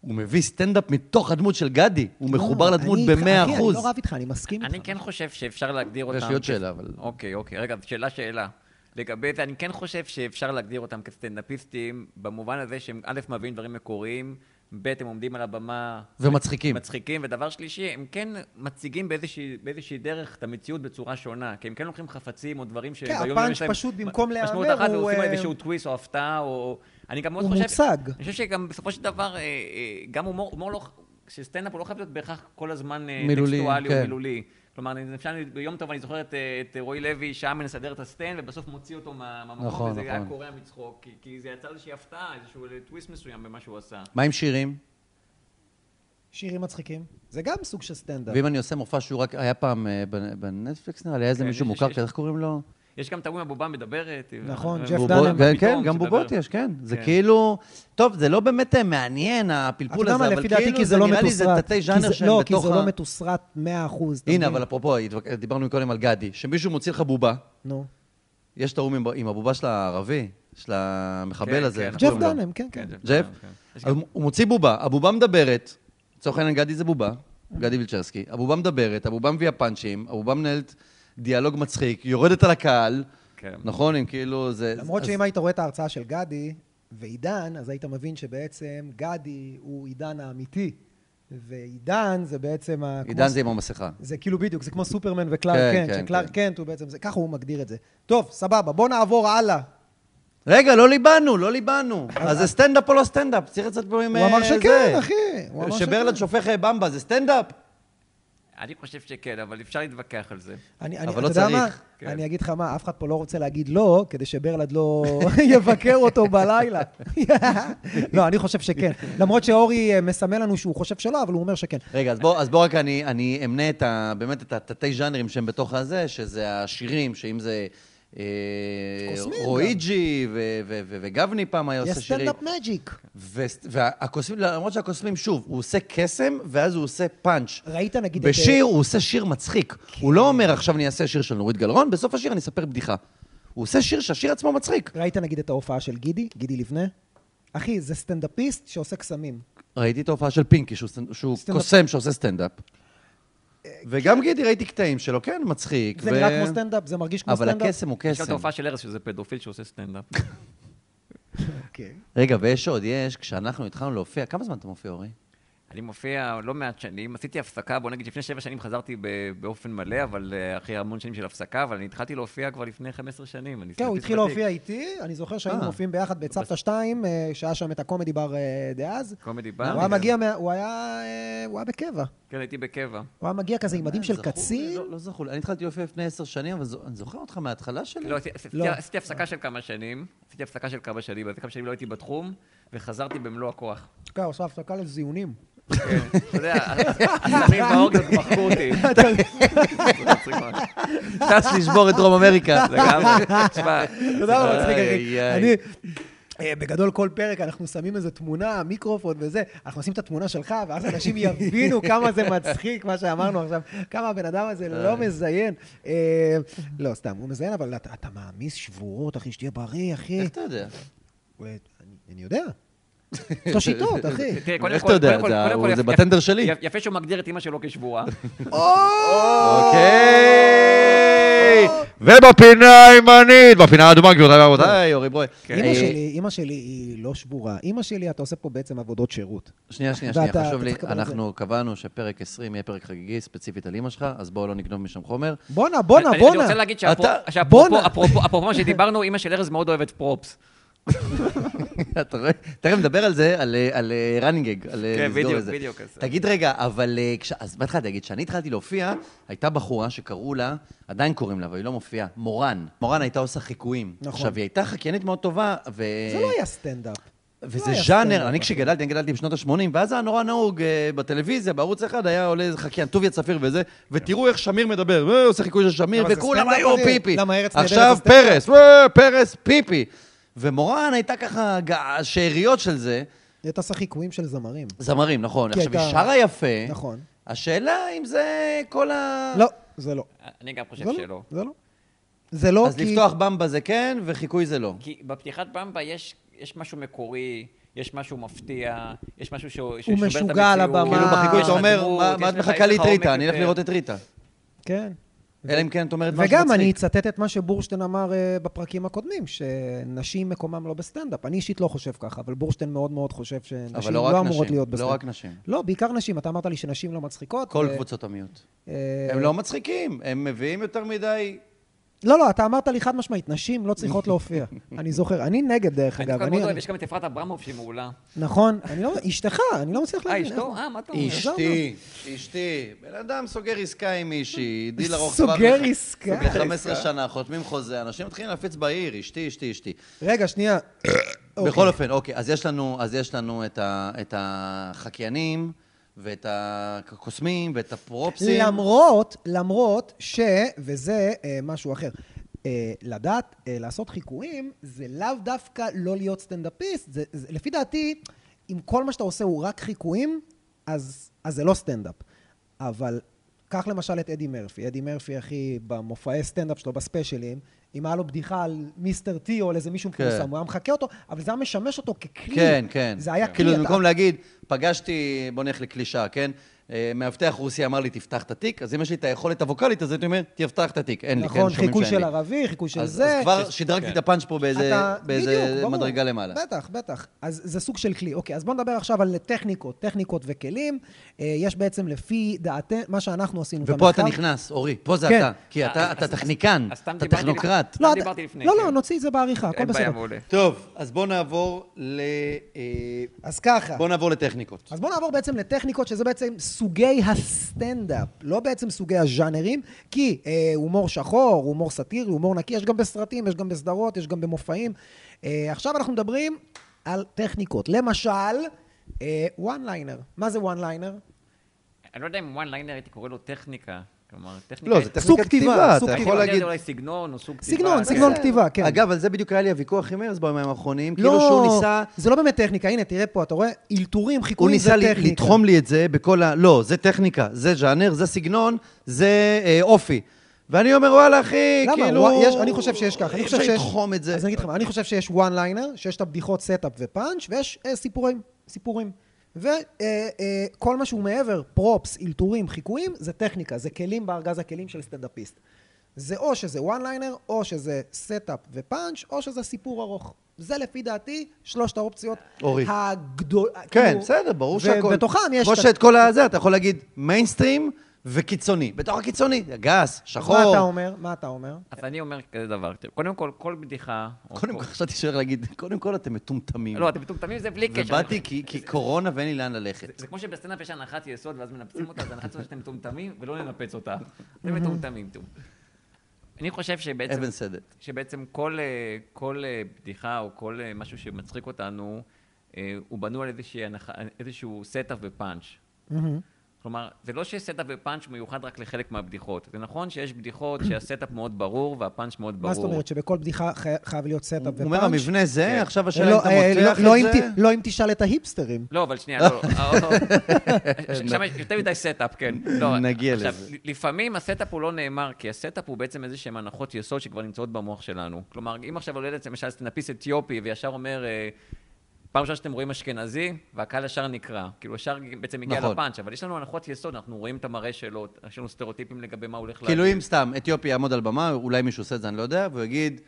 הוא מביא סטנדאפ מתוך הדמות של גדי, הוא לא, מחובר אני לדמות איתך, אחי, ב-100%. אני לא רב איתך, אני מסכים איתך. אה? אני כן חושב שאפשר להגדיר אותם... לי עוד כ- שאלה, אבל- אוקיי, אוקיי. רגע, שאלה, שאלה. לגבי זה, אני כן חושב שאפשר להגדיר אותם כסטנדאפיסטים, במובן הזה שהם א', מביאים דברים מקוריים, ב', הם עומדים על הבמה... ומצחיקים. מצחיקים, ודבר שלישי, הם כן מציגים באיזושהי, באיזושהי דרך את המציאות בצורה שונה, כי הם כן לוקחים חפצים או דברים ש... ביום-יום כן, הפאנץ' יש להם פשוט במקום מ- משמעות להיאמר, אחת, הוא, ועושים אה, איזשהו טוויסט או הפתעה, או... אני גם מאוד הוא חושב... מוצג. אני חושב שגם בסופו של דבר, אה, אה, גם הומור, הומור לא... שסטנדאפ הוא לא חייב להיות בהכרח כל הזמן אה, מילולי, טקסטואלי כן. או מילולי. כלומר, אני- אפשר, ביום טוב אני זוכר את, אה, את רועי לוי, שעה מנסדר את הסטנד, ובסוף מוציא אותו מה- מהמקום, נכון, וזה היה נכון. קורע מצחוק, כי, כי זה יצר איזושהי הפתעה, איזשהו אה, טוויסט מסוים במה שהוא עשה. מה עם שירים? שירים מצחיקים. זה גם סוג של סטנדאפ. ואם אני עושה מופע שהוא רק היה פעם אה, בנ- בנטפליקס, נראה לי, היה איזה כן, מישהו יש- מוכר, יש- כזה, איך קוראים לו? יש גם את ההוא עם הבובה מדברת. נכון, אה, ג'ף בובות, דנהאם. בובות, כן, כן, פתאום, גם שתדבר. בובות יש, כן. זה כן. כאילו... טוב, זה לא באמת אה, מעניין, אתה הפלפול יודע הזה, מה, אבל לפי דעתי, כאילו כי זה זה לא נראה לי זה מתוסרט. תתי כי ז'אנר זה- שהם לא, כי בתוך זה לא ה... מתוסרט 100%. אתה הנה, מבין? אבל אפרופו, התווכ- דיברנו קודם על גדי, שמישהו מוציא לך בובה, נו. יש את ההוא עם- עם הבובה של הערבי, של כן, המחבל הזה. איך ג'ף קוראים לו? דנם, כן, כן. ג'ף? דנם, כן. יש אז גם- הוא מוציא בובה, הבובה מדברת, לצורך העניין גדי זה בובה, גדי וילצ'רסקי, הבובה מדברת, הבובה מביאה פאנצ'ים, הבובה מנהלת דיאלוג מצחיק, יורדת על הקהל, כן. נכון? אם כאילו זה... למרות אז- שאם היית רואה את ההרצאה של גדי ועידן, אז היית מבין שבעצם גדי הוא עידן האמיתי, ועידן זה בעצם... ה- כמו עידן ס- זה עם המסכה. זה כאילו בדיוק, זה כמו סופרמן וקלארק כן, קנט, כן, שקלארק כן. קנט הוא בעצם זה, ככה הוא מגדיר את זה. טוב, סבבה, בוא נעבור הלאה. רגע, לא ליבנו, לא ליבנו. אז זה סטנדאפ או לא סטנדאפ? צריך לצאת פה עם... אה, הוא אמר אה, שכן, זה. אחי. הוא אמר שברלד שכן. שופך אה, במבה, זה סטנדאפ? אני חושב שכן, אבל אפשר להתווכח על זה. אני, אני, אבל אתה לא יודע מה? צריך, כן. אני אגיד לך מה, אף אחד פה לא רוצה להגיד לא, כדי שברלד לא יבקר אותו בלילה. לא, אני חושב שכן. למרות שאורי אה, מסמל לנו שהוא חושב שלא, אבל הוא אומר שכן. רגע, אז בוא, אז בוא רק אני, אני אמנה את ה, באמת את התתי ז'אנרים שהם בתוך הזה, שזה השירים, שאם זה אה, קוסמים רואיג'י ו- ו- ו- וגבני פעם היה יש עושה שירים. סטנדאפ מג'יק. וסט- והקוסמים, לא, למרות שהקוסמים, שוב, הוא עושה קסם, ואז הוא עושה פאנץ'. ראית נגיד את... כן. בשיר הוא עושה שיר מצחיק. הוא לא אומר, עכשיו אני אעשה שיר של נורית גלרון, בסוף השיר אני אספר בדיחה. הוא עושה שיר שהשיר עצמו מצחיק. אה, ראית נגיד את ההופעה של גידי, גידי לבנה? אחי, זה סטנדאפיסט שעושה קסמים. ראיתי את ההופעה של פינקי, שהוא, סטנ- שהוא סטנדאפ. אה, כן. קוסם שעושה סטנדאפ. וגם גידי, ראיתי קטעים שלו, כן, מצחיק. זה ו- נראה כמו סטנדאפ, זה מרגיש כמו אבל סטנדאפ. הקסם הוא יש גם את קסם. ההופעה של ארז, שזה פדופיל שעושה סטנדאפ. אוקיי. רגע, ויש עוד, יש, כשאנחנו התחלנו להופיע, כמה זמן אתה מופיע, אורי? אני מופיע לא מעט שנים, עשיתי הפסקה, בוא נגיד, לפני שבע שנים חזרתי ב- באופן מלא, אבל אה, אחרי המון שנים של הפסקה, אבל אני התחלתי להופיע כבר לפני 15 שנים. אני כן, הוא סטנדאפיסט התחיל ותיק. להופיע איתי, אני זוכר שהיינו אה. מופיעים ביחד בצוותא 2, שהיה שם את הקומדי בר אה, דאז. קומדי בר. הוא היה כן. מגיע, מה- הוא היה אה, הוא היה בקבע. כן, הייתי בקבע. הוא היה מגיע כזה עם מדים אה, של זכור לי, קצין. לא, לא זכור לי. אני התחלתי להופיע לפני עשר שנים, אבל זו- אני זוכר אותך מההתחלה שלי. לא, עשיתי- עשיתי- לא. עשיתי הפסקה של כמה שנים, עשיתי הפסקה של כמה שנים, אז כמה שנים לא הייתי בתחום, וחזרתי במלוא הכוח. כן, הוא עושה הפסקה לזיונים. כן, אתה יודע, הסמים והאורגיות מחקו אותי. טס לשבור את דרום אמריקה. לגמרי, תשמע, אתה יודע מה מצחיק, אחי? איי, איי. אני... אה, בגדול כל פרק אנחנו שמים איזה תמונה, מיקרופון וזה, אנחנו נשים את התמונה שלך, ואז אנשים יבינו כמה זה מצחיק, מה שאמרנו עכשיו, כמה הבן אדם הזה לא מזיין. אה, לא, סתם, הוא מזיין, אבל אתה אתה מעמיס שבורות, אחי, שתהיה בריא, אחי. איך אתה יודע? אני- אני יודע. יש לו שיטות, אחי. תראה, קודם איך כל- אתה יודע? קודם כל- זה- קודם כל הוא- יפ- זה יפ- בטנדר שלי. יפ- יפה שהוא מגדיר את אימא שלו כשבועה. אוקיי! ובפינה הימנית, בפינה האדומה, גבירותיי ורבותיי, אורי אה, ברוי. כן. אימא שלי, אימא שלי היא לא שבורה. אימא שלי, אתה עושה פה בעצם עבודות שירות. שנייה, שנייה, שנייה, ואתה- חשוב אתה לי, צריך לקבל את אנחנו קבענו שפרק 20 יהיה פרק חגיגי, ספציפית על אימא שלך, אז בואו לא נגנוב משם חומר. בואנה, בואנה, אני- אני בואנה. רוצה להגיד שאפרופו- אתה- שאפרופו בואנה. אפרופו- אפרופו מה שדיברנו, אימא של ארז מאוד אוהבת פרופס. אתה רואה? תכף נדבר על זה, על, אה, על אה, running gag, על אה, כן, לסגור בדיוק, את זה. בדיוק, אז- תגיד רגע, אבל... אה, כש... אז בהתחלה תגיד, כשאני התחלתי להופיע, הייתה בחורה שקראו לה, עדיין קוראים לה, אבל היא לא מופיעה, מורן. מורן הייתה עושה חיקויים. נכון. עכשיו, היא הייתה חקיינית מאוד טובה, ו... זה לא היה סטנדאפ. וזה לא היה ז'אנר, סטנדאפ, אני אחי. כשגדלתי, אני גדלתי בשנות ה-80, ואז היה נורא נהוג אה, בטלוויזיה, בערוץ אחד היה עולה איזה חקיין, טוביה צפיר וזה, ותראו איך שמיר מדבר, אה, עושה חיקוי של שמיר, אבל זה וכולם סטנדאפ, היו אחי. פיפי. למה ארץ נהדרת עכשיו זה סטנדאפ? פרס, אה, פרס, פיפי. ומורן הייתה ככה, ג- שאריות של זה, אתה עושה חיקויים של זמרים. זמרים, נכון. כי עכשיו, היא הייתה- שרה יפה. נכון. השאלה אם זה כל ה... לא, זה לא. אני גם חושב זה לא. שלא. זה לא. זה לא אז כי... לפתוח במבה זה כן, וחיקוי זה לא. כי בפתיחת במבה יש, יש משהו מקורי, יש משהו מפתיע, יש משהו ש... ששובר את הוא המציאות. משוגע על הבמה. כאילו בחיקוי יש אתה לך אומר, דמות, "מה- יש מה את לך- מחכה יש לי לך את ריטה? עומק אני אלך יותר." לראות את ריטה. כן. אלא אם כן את אומרת משהו מצחיק. וגם אני אצטט את מה שבורשטיין אמר אה, בפרקים הקודמים, שנשים מקומם לא בסטנדאפ. אני אישית לא חושב ככה, אבל בורשטיין מאוד מאוד חושב אבל שנשים לא רק לא אמורות נשים, להיות לא רק בסטנדאפ. נשים. לא, בעיקר נשים. אתה אמרת לי שנשים לא מצחיקות. כל ו- קבוצות המיעוט. אה, הם לא מצחיקים, הם מביאים יותר מדי... לא, לא, אתה אמרת לי חד משמעית, נשים לא צריכות להופיע. אני זוכר. אני נגד, דרך אני אגב. דווקא אני- מאוד אוהב, אני- יש גם את אפרת אברמוב שהיא מעולה. נכון. אני לא- אשתך, אני לא מצליח אה, להבין. איך- אשתו? אה, מה אתה אומר? אשתי, אשתי. בן אדם סוגר עסקה עם מישהי, דיל ארוך סוגר עסקה? סוגר 15 שנה, חותמים חוזה, אנשים מתחילים להפיץ בעיר, אשתי, אשתי, אשתי. רגע, שנייה. אוקיי. בכל אופן, אוקיי, אז יש לנו, אז יש לנו את, ה, את החקיינים, ואת הקוסמים, ואת הפרופסים. למרות, למרות ש, וזה אה, משהו אחר, אה, לדעת, אה, לעשות חיקויים, זה לאו דווקא לא להיות סטנדאפיסט. זה, זה, לפי דעתי, אם כל מה שאתה עושה הוא רק חיקויים, אז, אז זה לא סטנדאפ. אבל קח למשל את אדי מרפי. אדי מרפי, אחי, במופעי סטנדאפ שלו, בספיישלים, אם היה לו בדיחה על מיסטר טי או על איזה מישהו כן. מפורסם, הוא היה מחקה אותו, אבל זה היה משמש אותו ככלי. כן, כן. זה היה כלי. כאילו, אתה- במקום להגיד, פגשתי, בוא נלך לקלישאה, כן? אה, מאבטח רוסי אמר לי, תפתח את התיק, אז אם יש לי את היכולת הווקאלית, אז הייתי אומר, תפתח את התיק. אין לי, כן, נכון, שומעים שאין לי. חיקוי של ערבי, חיקוי של אז- זה. אז כבר שדרגתי כן. את הפאנץ' פה באיזה- אתה- באיזה בדיוק, ברור. מדרגה למעלה. בטח, בטח. אז זה סוג של כלי. אוקיי, אז בואו נדבר עכשיו על טכניקות, טכניקות וכלים. אה, יש בעצם לפי דעתנו, מה שאנחנו עשינו ופה אתה במחקר- נכנס, אורי, פה זה כן. אתה, כי אתה אז- אתה אז- טכניקן, אז סתם אתה דיברתי לפני- טכנוקרט. לא אתה- דיברתי לפני, לא, לא, כן. נוציא את זה בעריכה, הכל אין בעיה, בסדר. מעולה. טוב, אז בוא נעבור ל... אה, אז ככה. בוא נעבור לטכניקות. אז בואו נעבור בעצם לטכניקות, שזה בעצם סוגי הסטנדאפ, לא בעצם סוגי הז'אנרים, כי אה, הומור שחור, הומור סאטירי, הומור נקי, יש גם בסרטים, יש גם בסדרות, יש גם במופעים. אה, עכשיו אנחנו מדברים על טכניקות. למשל, וואן ליינר. מה זה וואן ליינר? אני לא יודע אם one liner הייתי קורא לו טכניקה. כלומר, טכניקה... לא, זה סוג טכניקת כתיבה, כתיבה, סוג אתה אני יכול יודע, להגיד... אולי סגנון או סוג כתיבה. סגנון, כן. סגנון כתיבה, כן. אגב, על זה בדיוק היה לי הוויכוח עם ארז ביומיים האחרונים, כאילו שהוא ניסה... זה לא באמת טכניקה, הנה, תראה פה, אתה רואה? אלתורים, הוא חיקויים, זה ניסה טכניקה. לי- לתחום לי את זה בכל ה... לא, זה טכניקה, זה ז'אנר, זה סגנון, זה אה, אופי. ואני אומר, וואלה, אחי, למה? כאילו... וואי, יש, אני חושב שיש ככה. אני אי חושב אפשר שיש... לתחום את זה. אז אני אגיד לך, מה, אני חושב שיש וואן ליינר, שיש את הבדיחות סטאפ ופאנץ', ויש אה, סיפורים, סיפורים. וכל אה, אה, כל מה שהוא מעבר, פרופס, אלתורים, חיקויים, זה טכניקה, זה כלים בארגז הכלים של סטנדאפיסט. זה או שזה וואן ליינר, או שזה סטאפ ופאנץ', או שזה סיפור ארוך. זה לפי דעתי שלושת האופציות אורי. הגדול... כן, כאילו- בסדר, ברור שהכל... ובתוכם יש... כמו את ה- שאת כל הזה, אתה יכול להגיד מיינסטרים וקיצוני. בתוך הקיצוני, גס, שחור. מה אתה אומר? מה אתה אומר? אז אני אומר כזה דבר, תראו, קודם כל, כל בדיחה... או קודם כל- כל, חשבתי שהוא הולך להגיד, קודם כל אתם מטומטמים. לא, אתם מטומטמים זה בלי קשר. ובאתי כי- כי קורונה ואין לי לאן ללכת. זה כמו שבסטנדאפ יש הנחת יסוד, ואז מנפצים אותה, אז הנחת יסוד שאתם מטומטמים, ולא ננפץ אותה. אתם מטומטמים, תראו. אני חושב שבעצם... אבן סדק. שבעצם כל, אה, כל אה, בדיחה או כל אה, משהו שמצחיק אותנו, אה, הוא בנוי על איזושהי הנחה, איזשהו סטאפ ופאנץ'. מהמם. כלומר, זה לא שסטאפ ופאנץ' מיוחד רק לחלק מהבדיחות. זה נכון שיש בדיחות שהסטאפ מאוד ברור והפאנץ' מאוד ברור. מה זאת אומרת? שבכל בדיחה חי- חייב להיות סטאפ ופאנץ'? הוא אומר, המבנה זה, כן. עכשיו השאלה לא, אם אתה אה, לא- מותח לא אם את זה. ת- לא אם תשאל את ההיפסטרים. לא, אבל שנייה, לא. אה, ש- שם יש יותר מדי סטאפ, כן. לא, נגיע עכשיו, לזה. ל- לפעמים הסטאפ הוא לא נאמר, כי הסטאפ הוא בעצם איזה שהן הנחות יסוד שכבר נמצאות במוח שלנו. כלומר, אם עכשיו עולה לצ- למשל סטנאפיסט אתיופי וישר אומר, אה, פעם ראשונה שאתם רואים אשכנזי, והקהל ישר נקרע. כאילו, ישר בעצם הגיע נכון. לפאנץ', אבל יש לנו הנחות יסוד, אנחנו רואים את המראה שלו, יש לנו סטריאוטיפים לגבי מה הוא לא- הולך כאילו אם סתם אתיופי יעמוד על במה, אולי מישהו עושה את זה, אני לא יודע, והוא יגיד,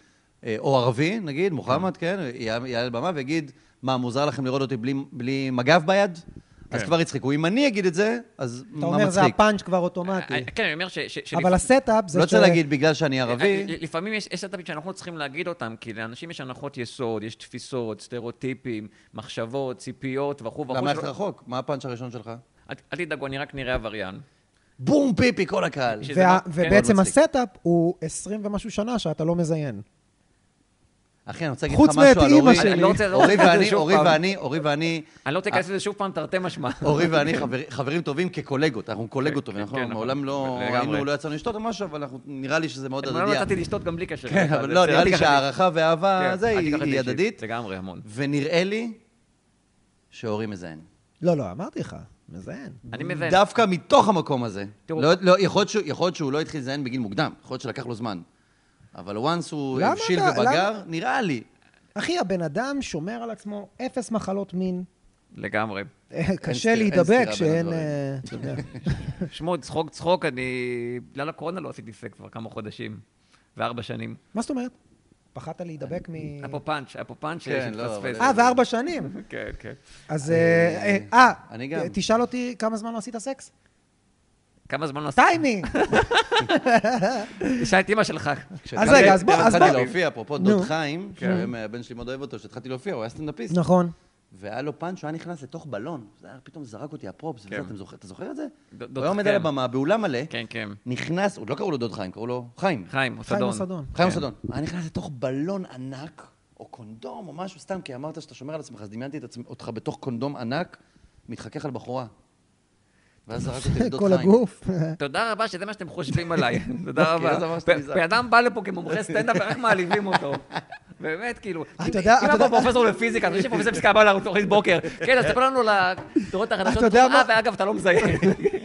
אה, או ערבי, נגיד, מוחמד, כן, יע- יעלה על במה ויגיד, מה, מוזר לכם לראות אותי בלי- בלי מגב ביד? אז כן. כבר יצחיקו. אם אני אגיד את זה, אז אתה מה אומר, זה מצחיק? הפאנץ' כבר אה, אה, אוטומטי. כן, אני אומר ש... ש- שלפ- אבל הסטאפ זה... לא רוצה ש- להגיד בגלל שאני ערבי. אה, לפעמים יש יש סטאפים שאנחנו לא צריכים להגיד אותם, כי לאנשים יש הנחות יסוד, יש תפיסות, סטריאוטיפים, מחשבות, ציפיות וכו' וכו'. למה שלא- הלכת רחוק? מה הפאנץ' הראשון שלך? אל אל תדאגו, אני רק נראה עבריין. בום, פיפי, כל הקהל. שזה וה- מאוד- כן, ובעצם מאוד מצחיק. הסטאפ הוא 20 ומשהו שנה שאתה לא מזיין. אחי, אני רוצה להגיד חוץ לך משהו מאת על אימא אורי. שלי. אני לא רוצה- אני לא אורי רוצה להגיד את זה ואני, שוב אורי פעם. ואני, אורי ואני, אני לא רוצה אה, להיכנס לזה שוב פעם, תרתי משמע. אורי ואני חבר- חברים טובים כקולגות, אנחנו קולגות טובים, כן, אנחנו כן, מעולם נכון. לא לגמרי. היינו, לא יצאנו לשתות או משהו, אבל אנחנו- נראה לי שזה מאוד אני הדדי. לא נתתי לשתות גם בלי קשר. כן, אבל לא, נראה בסדר, לי אל תיקח את זה. שהערכה והאהבה כן, זה אל היא תיקח את זה היא אישית. הדדית, לגמרי, המון. ונראה לי שאורי מזיין. לא, לא, אמרתי לך, מזיין. אני מבין. דווקא מתוך המקום הזה. תראו- לא- לא, יכול להיות שהוא- יכול להיות שהוא לא התחיל לזיין בגיל מוקדם, יכול להיות שלקח לו זמן. אבל once הוא למה הבשיל אתה- ובגר, נראה לי. אחי, הבן אדם שומר על עצמו אפס מחלות מין. לגמרי. אה, קשה סתירה- אין להידבק סתירה שאין... בין אה, שמעו, צחוק צחוק, אני... בגלל הקורונה לא עשיתי סקס כבר כמה חודשים. וארבע שנים. מה זאת אומרת? פחדת להידבק מ... היה פה פאנץ', היה פה פאנץ' כן, לא, אבל- שהתפספס. אה, וארבע שנים. כן, כן. אז... אה, אה, אה, אני גם. תשאל אותי כמה זמן לא עשית סקס? כמה זמן לא עשית? טיימינג! תשאל את אמא שלך. כשהתחלתי- רגע, אז בוא- אז כשהתחלתי בוא. להופיע, אפרופו נו. דוד חיים, כן. שהיום הבן שלי מאוד אוהב אותו, כשהתחלתי להופיע, הוא היה סטנדאפיסט. נכון. והיה לו פאנץ' שהוא היה נכנס לתוך בלון, זה היה פתאום זרק אותי הפרופס, וזה, אתם זוכר- אתה זוכר את זה? כן. ד- דוד הוא היה עומד על חיים. הבמה, באולם מלא, כן, כן. נכנס, עוד לא קראו לו דוד חיים, קראו לו חיים. חיים, חיים אוסדון. אוסדון. חיים כן. סדון, היה נכנס לתוך בלון ענק, או קונדום, או משהו, סתם, כי אמרת שאתה שומר על עצמך, אז דמיינתי את עצמי, אותך בתוך קונדום ענק, מתחכך על בחורה. ואז זרק אותי לדוד כל חיים. הגוף. תודה רבה שזה מה שאתם חושבים עליי, תודה אוקיי, אז רבה. אמרת שאתה בן נזהר. בן אדם בא לפה כמומחה סטנדאפ ורק מעליבים אותו. באמת, כאילו, אתה אם- יודע- אם אתה היה פה יודע- פרופסור לפפיזיקה, אני חושב שפרופסור לפפיזיקה בא לנו תוכנית בוקר, כן, אז תספר לנו על התורות החדשות, אתה יודע אה, מה? ואגב, אתה לא מזהה.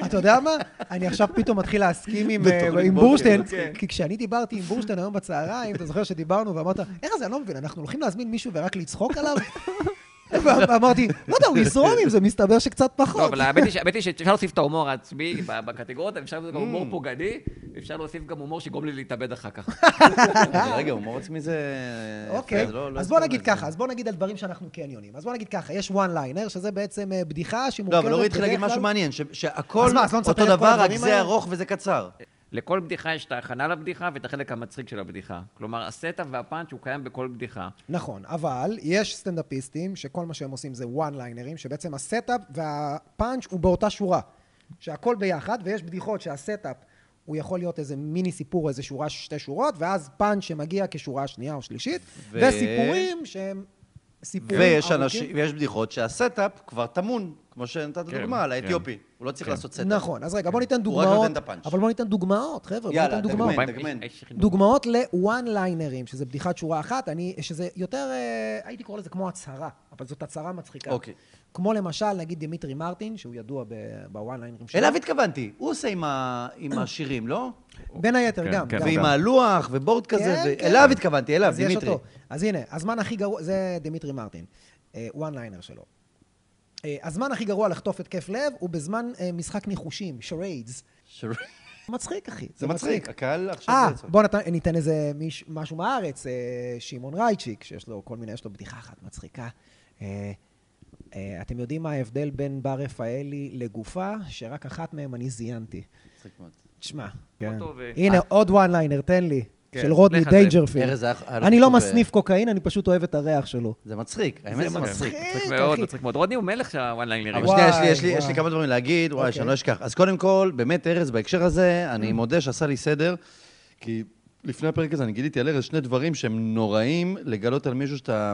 אתה יודע מה? אני עכשיו פתאום מתחיל להסכים עם, בתוכנית אה, עם בוקר, בורשטיין, כן. כי כשאני דיברתי עם בורשטיין היום בצהריים, אתה זוכר שדיברנו ואמרת, איך זה, אני לא מבין, אנחנו הולכים להזמין מישהו ורק לצחוק עליו? ואמרתי, לא יודע, הוא יזרום עם זה, מסתבר שקצת לא, פחות. אבל האמת היא ש- האמת היא שאפשר להוסיף את ההומור העצמי ב- בקטגוריות, אפשר להוסיף גם Mm. הומור פוגעני, אפשר להוסיף גם הומור שיגרום לי להתאבד אחר כך. אבל רגע, הומור עצמי זה... יפה, אוקיי, זה לא- לא אז בוא הזכרנו נגיד את זה. ככה, אז בוא נגיד על דברים שאנחנו כן יודעים. אז בוא נגיד ככה, יש one liner, שזה בעצם אה, בדיחה לא, שמורכבת אבל אורי התחיל להגיד בדרך משהו כלל- מעניין, ש- שהכל אז מה, אז לא נספר אותו את כל דבר, רק הדברים זה האלה? ארוך וזה קצר. לכל בדיחה יש את ההכנה לבדיחה ואת החלק המצחיק של הבדיחה. כלומר, הסטאפ והפאנץ' הוא קיים בכל בדיחה. נכון, אבל יש סטנדאפיסטים שכל מה שהם עושים זה one ליינרים, שבעצם הסטאפ והפאנץ' הוא באותה שורה. שהכל ביחד, ויש בדיחות שהסטאפ הוא יכול להיות איזה מיני סיפור, איזה שורה, שתי שורות, ואז פאנץ' שמגיע כשורה שנייה או שלישית, ו- ו... וסיפורים שהם סיפורים ויש ארוכים. אנשים, ויש בדיחות שהסטאפ כבר טמון, כמו שנתת כן, דוגמה, על האתיופי. כן. הוא לא צריך כן. לעשות סטאפ. נכון, אז רגע, בוא ניתן הוא רק דוגמאות, נותן את הפאנץ'. אבל בוא ניתן דוגמאות, חבר'ה, בוא יאללה, ניתן דוגמאות. דגמן, דגמן. דוגמאות ל-one liners, שזה בדיחת שורה אחת, אני, שזה יותר, אה, הייתי קורא לזה כמו הצהרה, אבל זאת הצהרה מצחיקה. אוקיי. כמו למשל, נגיד דמיטרי מרטין, שהוא ידוע ב-one liners שלו. אליו התכוונתי, הוא עושה עם ה- עם השירים, לא? בין היתר כן, גם. כן, גם. ועם הלוח ובורד כזה, כן, ו- כן. אליו התכוונתי, אליו, אז יש דימיטרי. אותו. אז הנה, הזמן הכי גרוע, זה דמיטרי מרטין, וואן ליינר שלו. אה, הזמן הכי גרוע לחטוף התקף לב הוא בזמן אה, משחק ניחושים, charades. שר- מצחיק, אחי. זה מצחיק, הקהל עכשיו אה, זה יצא. בוא נת... ניתן איזה מיש... משהו מהארץ, אה, שמעון רייצ'יק, שיש לו כל מיני, יש לו בדיחה אחת מצחיקה. אה, אה, אתם יודעים מה ההבדל בין בר רפאלי לגופה? שרק אחת מהם אני זיינתי. מצחיק מאוד. תשמע, כן. אותו ו- הנה עוד one liner, תן לי, אה. כן, של רודני אה. לך על זה. דיינג'רפילד. ארז, אה, היה- היה לו אני לא חשוב, מסניף קוקאין, אני פשוט אוהב את הריח שלו. זה מצחיק, האמת זה מצחיק. מצחיק מצחיק, מאוד, אחי. מצחיק מאוד. רודני הוא מלך של הוואן ליינרים. אה, אבל שנייה, וואי, יש לי, יש, לי, יש לי וואי. אוקיי. כמה דברים להגיד, וואי, שאני לא אשכח. אז קודם כל, באמת, ארז, בהקשר הזה, אני Mm. מודה שעשה לי סדר, כי לפני הפרק הזה אני גיליתי על ארז שני דברים שהם נוראים לגלות על מישהו שאתה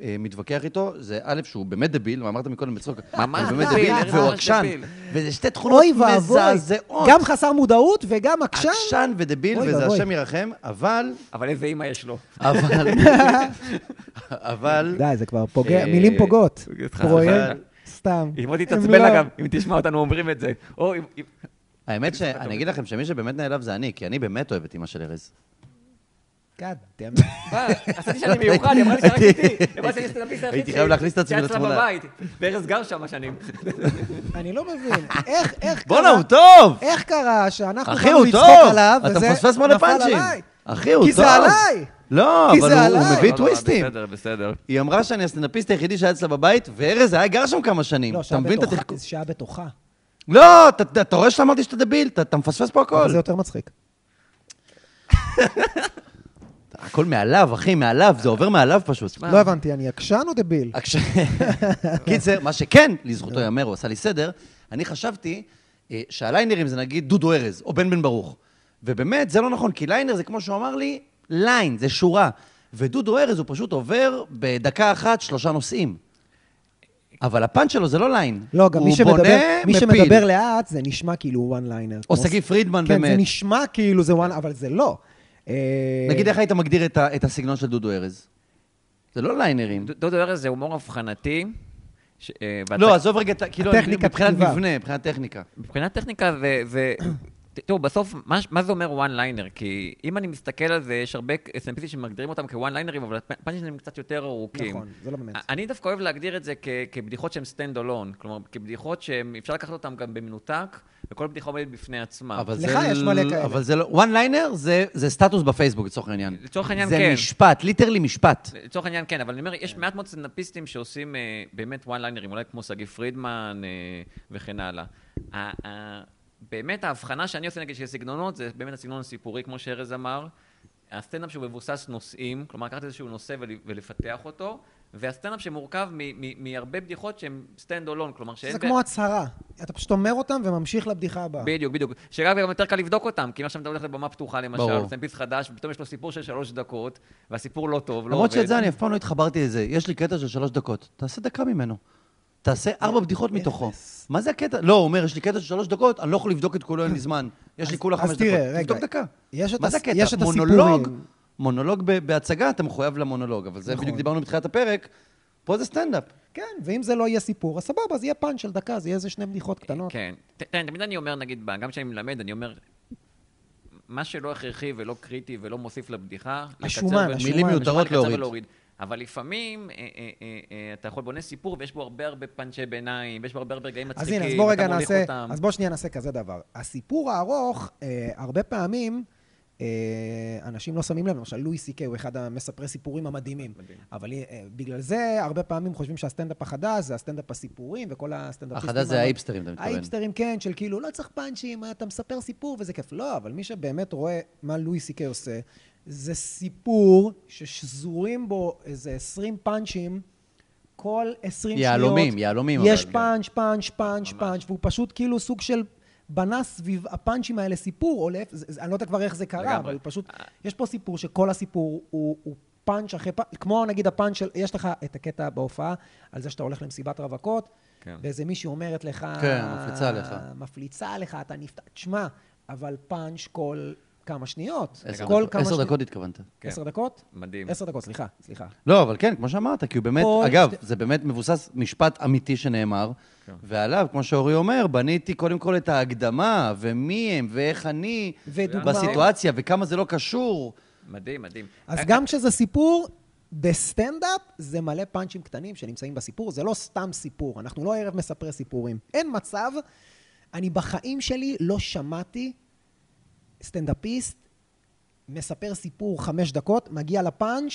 אה, מתווכח איתו, זה א', שהוא באמת דביל, ואמרת מקודם בצחוק, ממש הוא באמת דביל, דביל, ארז והוא ממש עקשן, דביל. וזה שתי תכונות אוי ואבוי, מזעזעות. גם חסר מודעות וגם עקשן. עקשן ודביל, אוי וזה ואבוי. השם ירחם, אבל, אבל איזה אימא יש לו. אבל, אבל, די, זה כבר פוגע, אה, מילים פוגעות. סליחה, פרויקט, סליחה. סתם. אה, אם עוד הם תתעצבן לא- לה גם, אם תשמע אותנו אומרים את זה. או אם... אם- האמת שאני אגיד לכם שמי שבאמת נעלב זה אני, כי אני באמת אוהב את אמא של ארז. God damn it. מה, אה, עשיתי שאני מיוחד, היא אמרה לי שרק איתי. היא אמרה שאני סטנדאפיסט היחיד הייתי חייב להכניס את עצמי שאצלה לתמונה. בבית. וארז גר שם שנים. אני לא מבין, איך, איך קרה... בואנה, הוא טוב! איך קרה שאנחנו אחי, הוא לצחוק טוב! עליו, אתה וזה מפספס מלא נפל פאנצ'ים. עליי? אחי, הוא טוב. כי זה עליי! לא, כי אבל זה הוא- הוא עליי. מביא לא, לא, טוויסטים. בסדר, בסדר. היא אמרה שאני הסטנדאפיסט היחידי שהיה אצלה בבית, וארז היה גר שם כמה שנים. לא, אתה שעה מבין את בתוכה, התחכום? זה שעה בתוכה. לא, אתה- אתה- אתה רואה שאמרתי שאתה דביל, אתה- אתה מפספס פה הכל. אבל זה יותר מצחיק. הכל מעליו, אחי, מעליו, זה עובר מעליו פשוט. לא הבנתי, אני עקשן או דביל? עקש- קיצר, מה שכן, לזכותו ייאמר, הוא עשה לי סדר, אני חשבתי אה, שהליינרים זה נגיד דודו ארז, או בן בן ברוך. ובאמת, זה לא נכון, כי ליינר זה כמו שהוא אמר לי, ליין, זה שורה. ודודו ארז הוא פשוט עובר בדקה אחת שלושה נושאים. אבל הפאנץ' שלו זה לא ליין. לא, גם מי שמדבר, הוא בונה, מי מפיל. שמדבר לאט, זה נשמע כאילו הוא one liner. או שגיא פרידמן כן, באמת. זה נשמע כאילו זה one, אבל זה לא. אה, נגיד, איך היית מגדיר את ה- את הסגנון של דודו ארז? זה לא ליינרים. ד- דודו ארז זה הומור הבחנתי. ש- אה, לא, והצ- עזוב רגע, את ה- כאילו, הטכניקה מבחינת כתיבה. מבנה, מבחינת טכניקה. מבחינת טכניקה זה... זה... ת- תראו, בסוף, מה, ש- מה זה אומר one liner? כי אם אני מסתכל על זה, יש הרבה סטנדאפיסטים שמגדירים אותם כ-one liners, אבל הפאנצ'ים שלהם קצת יותר ארוכים. נכון, זה לא באמת. אני דווקא אוהב להגדיר את זה כ- כבדיחות שהן stand alone, כלומר, כבדיחות שהן, אפשר לקחת אותן גם במנותק, וכל בדיחה עומדת בפני עצמה. אבל לך זה יש ל- מלא כאלה. אבל זה לא... וואן ליינר זה, זה סטטוס בפייסבוק, לצורך העניין. לצורך העניין, זה כן. זה משפט, ליטרלי משפט. לצורך העניין, כן, אבל אני אומר, יש מעט מאוד סטנדאפיסטים שעושים אה, באמת וואן ליינרים, אולי כמו שגיא פרידמן אה, וכן הלאה. ה- ה- באמת ההבחנה שאני עושה נגיד של סגנונות, זה באמת הסגנון הסיפורי, כמו שארז אמר. הסטנדאפ שהוא מבוסס נושאים, כלומר לקחת איזשהו נושא ול- ולפתח אותו, והסטנדאפ שמורכב מ- מ- מהרבה בדיחות שהן stand alone, כלומר שאין... זה בה- כמו הצהרה. אתה פשוט אומר אותם וממשיך לבדיחה הבאה. בדיוק, בדיוק. שאגב, גם יותר קל לבדוק אותם, כי אם עכשיו אתה הולך לבמה פתוחה, ברור. למשל, סטנדאפיסט חדש, ופתאום יש לו סיפור של שלוש דקות, והסיפור לא טוב, לא למרות שאת עובד. זה אני אף פעם לא התחברתי לזה. יש לי קטע של שלוש דקות. תעשה דקה ממנו. תעשה ארבע בדיחות מתוכו. מה זה הקטע? לא, הוא אומר, יש לי קטע של שלוש דקות, אני לא יכול לבדוק את כולו, אין לי זמן. יש לי אז- כולה אז חמש דקות. תראה, רגע. תבדוק דקה. יש את מה הס- זה הקטע? יש את מונולוג? הסיפורים. מונולוג ב- בהצגה, אתה מחויב למונולוג, אבל זה נכון. בדיוק דיברנו בתחילת הפרק, פה זה סטנדאפ. כן, ואם זה לא יהיה סיפור, אז סבבה, אז יהיה פאנץ' של דקה, זה יהיה איזה שני בדיחות קטנות. כן. ת- תראה, תמיד אני אומר, נגיד, ב- גם כשאני מלמד, אני אומר, מה שלא הכרחי ולא קריטי ולא מוסיף לבדיחה, השומן, לקצר ו- השומן, מילים מיותרות לקצר להוריד. ולהוריד. אבל לפעמים אה, אה, אה, אה, אתה יכול בונה סיפור ויש בו הרבה הרבה פאנצ'י ביניים, ויש בו הרבה הרבה רגעים אז מצחיקים, הנה, אז בוא רגע אתה מוליך נעשה, אותם. אז בוא שנייה נעשה כזה דבר. הסיפור הארוך, אה, הרבה פעמים, אה, אנשים לא שמים לב, למשל לואי סי קיי הוא אחד המספרי סיפורים המדהימים. מדהים. אבל אה, בגלל זה, הרבה פעמים חושבים שהסטנדאפ החדש זה הסטנדאפ הסיפורים, וכל הסטנדאפיסטים... החדש זה ה- האיפסטרים, אתה מתכוון. האיפסטרים, כן, של כאילו, לא צריך פאנצ'ים, אתה מספר סיפור וזה כיף. לא, אבל מי שבאמת רואה מה לואי סי קיי עושה, זה סיפור ששזורים בו איזה 20 פאנצ'ים. כל 20 יהלומים, שניות, יהלומים, יש אבל, כן. פאנץ', פאנץ', פאנץ', ממש. פאנץ', והוא פשוט כאילו סוג של בנה סביב הפאנצ'ים האלה סיפור, או להפך, זה- זה- אני לא יודע כבר איך זה קרה, לגמרי. אבל הוא פשוט, אה. יש פה סיפור שכל הסיפור הוא הוא פאנץ' אחרי פאנץ', כמו נגיד הפאנץ' של, יש לך את הקטע בהופעה על זה שאתה הולך למסיבת רווקות, כן. ואיזה מישהי אומרת לך... כן, מפליצה לך. מפליצה לך, אתה נפתח... תשמע, אבל פאנץ' כל כמה שניות. עשר כל דקות- כמה עשר שני- דקות התכוונת. כן. עשר דקות? מדהים. עשר דקות, סליחה, סליחה. לא, אבל כן, כמו שאמרת, כי הוא באמת, כל אגב, שתי- זה באמת מבוסס משפט אמיתי שנאמר, ועליו, כמו שאורי אומר, בניתי קודם כל את ההקדמה, ומי הם, ואיך אני, ודוגמאות. בסיטואציה, וכמה זה לא קשור. מדהים, מדהים. אה, אה, אז גם כשזה סיפור, בסטנדאפ זה מלא פאנצ'ים קטנים שנמצאים בסיפור, זה לא סתם סיפור, אנחנו לא ערב מספרי סיפורים. אין מצב, אני בחיים שלי לא שמעתי סטנדאפיסט מספר סיפור חמש דקות, מגיע לפאנץ',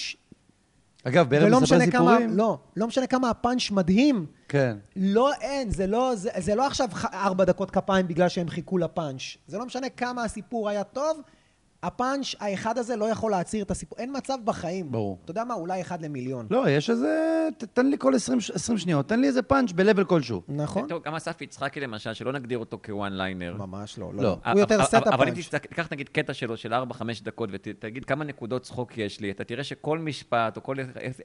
אגב, בערב ולא מספר משנה כמה, סיפורים... לא, לא משנה כמה הפאנץ' מדהים, כן. לא אין, זה לא, זה, זה לא עכשיו ח- ארבע דקות כפיים בגלל שהם חיכו לפאנץ'. זה לא משנה כמה הסיפור היה טוב, הפאנץ' האחד הזה לא יכול להעציר את הסיפור. אין מצב בחיים. ברור. אתה יודע מה? אולי אחד למיליון. לא, יש איזה... ת- תן לי כל 20 ש- 20 שניות, תן לי איזה פאנץ' ב-level כלשהו. נכון? אה, טוב, גם אסף יצחקי למשל, שלא נגדיר אותו כוואן ליינר. ממש לא. לא. לא. הוא יותר אבל- סטאפ אבל אם פאנץ'. תסתכל- תיקח נגיד קטע שלו של 4-5 דקות ותגיד כמה נקודות צחוק יש לי, אתה תראה שכל משפט או כל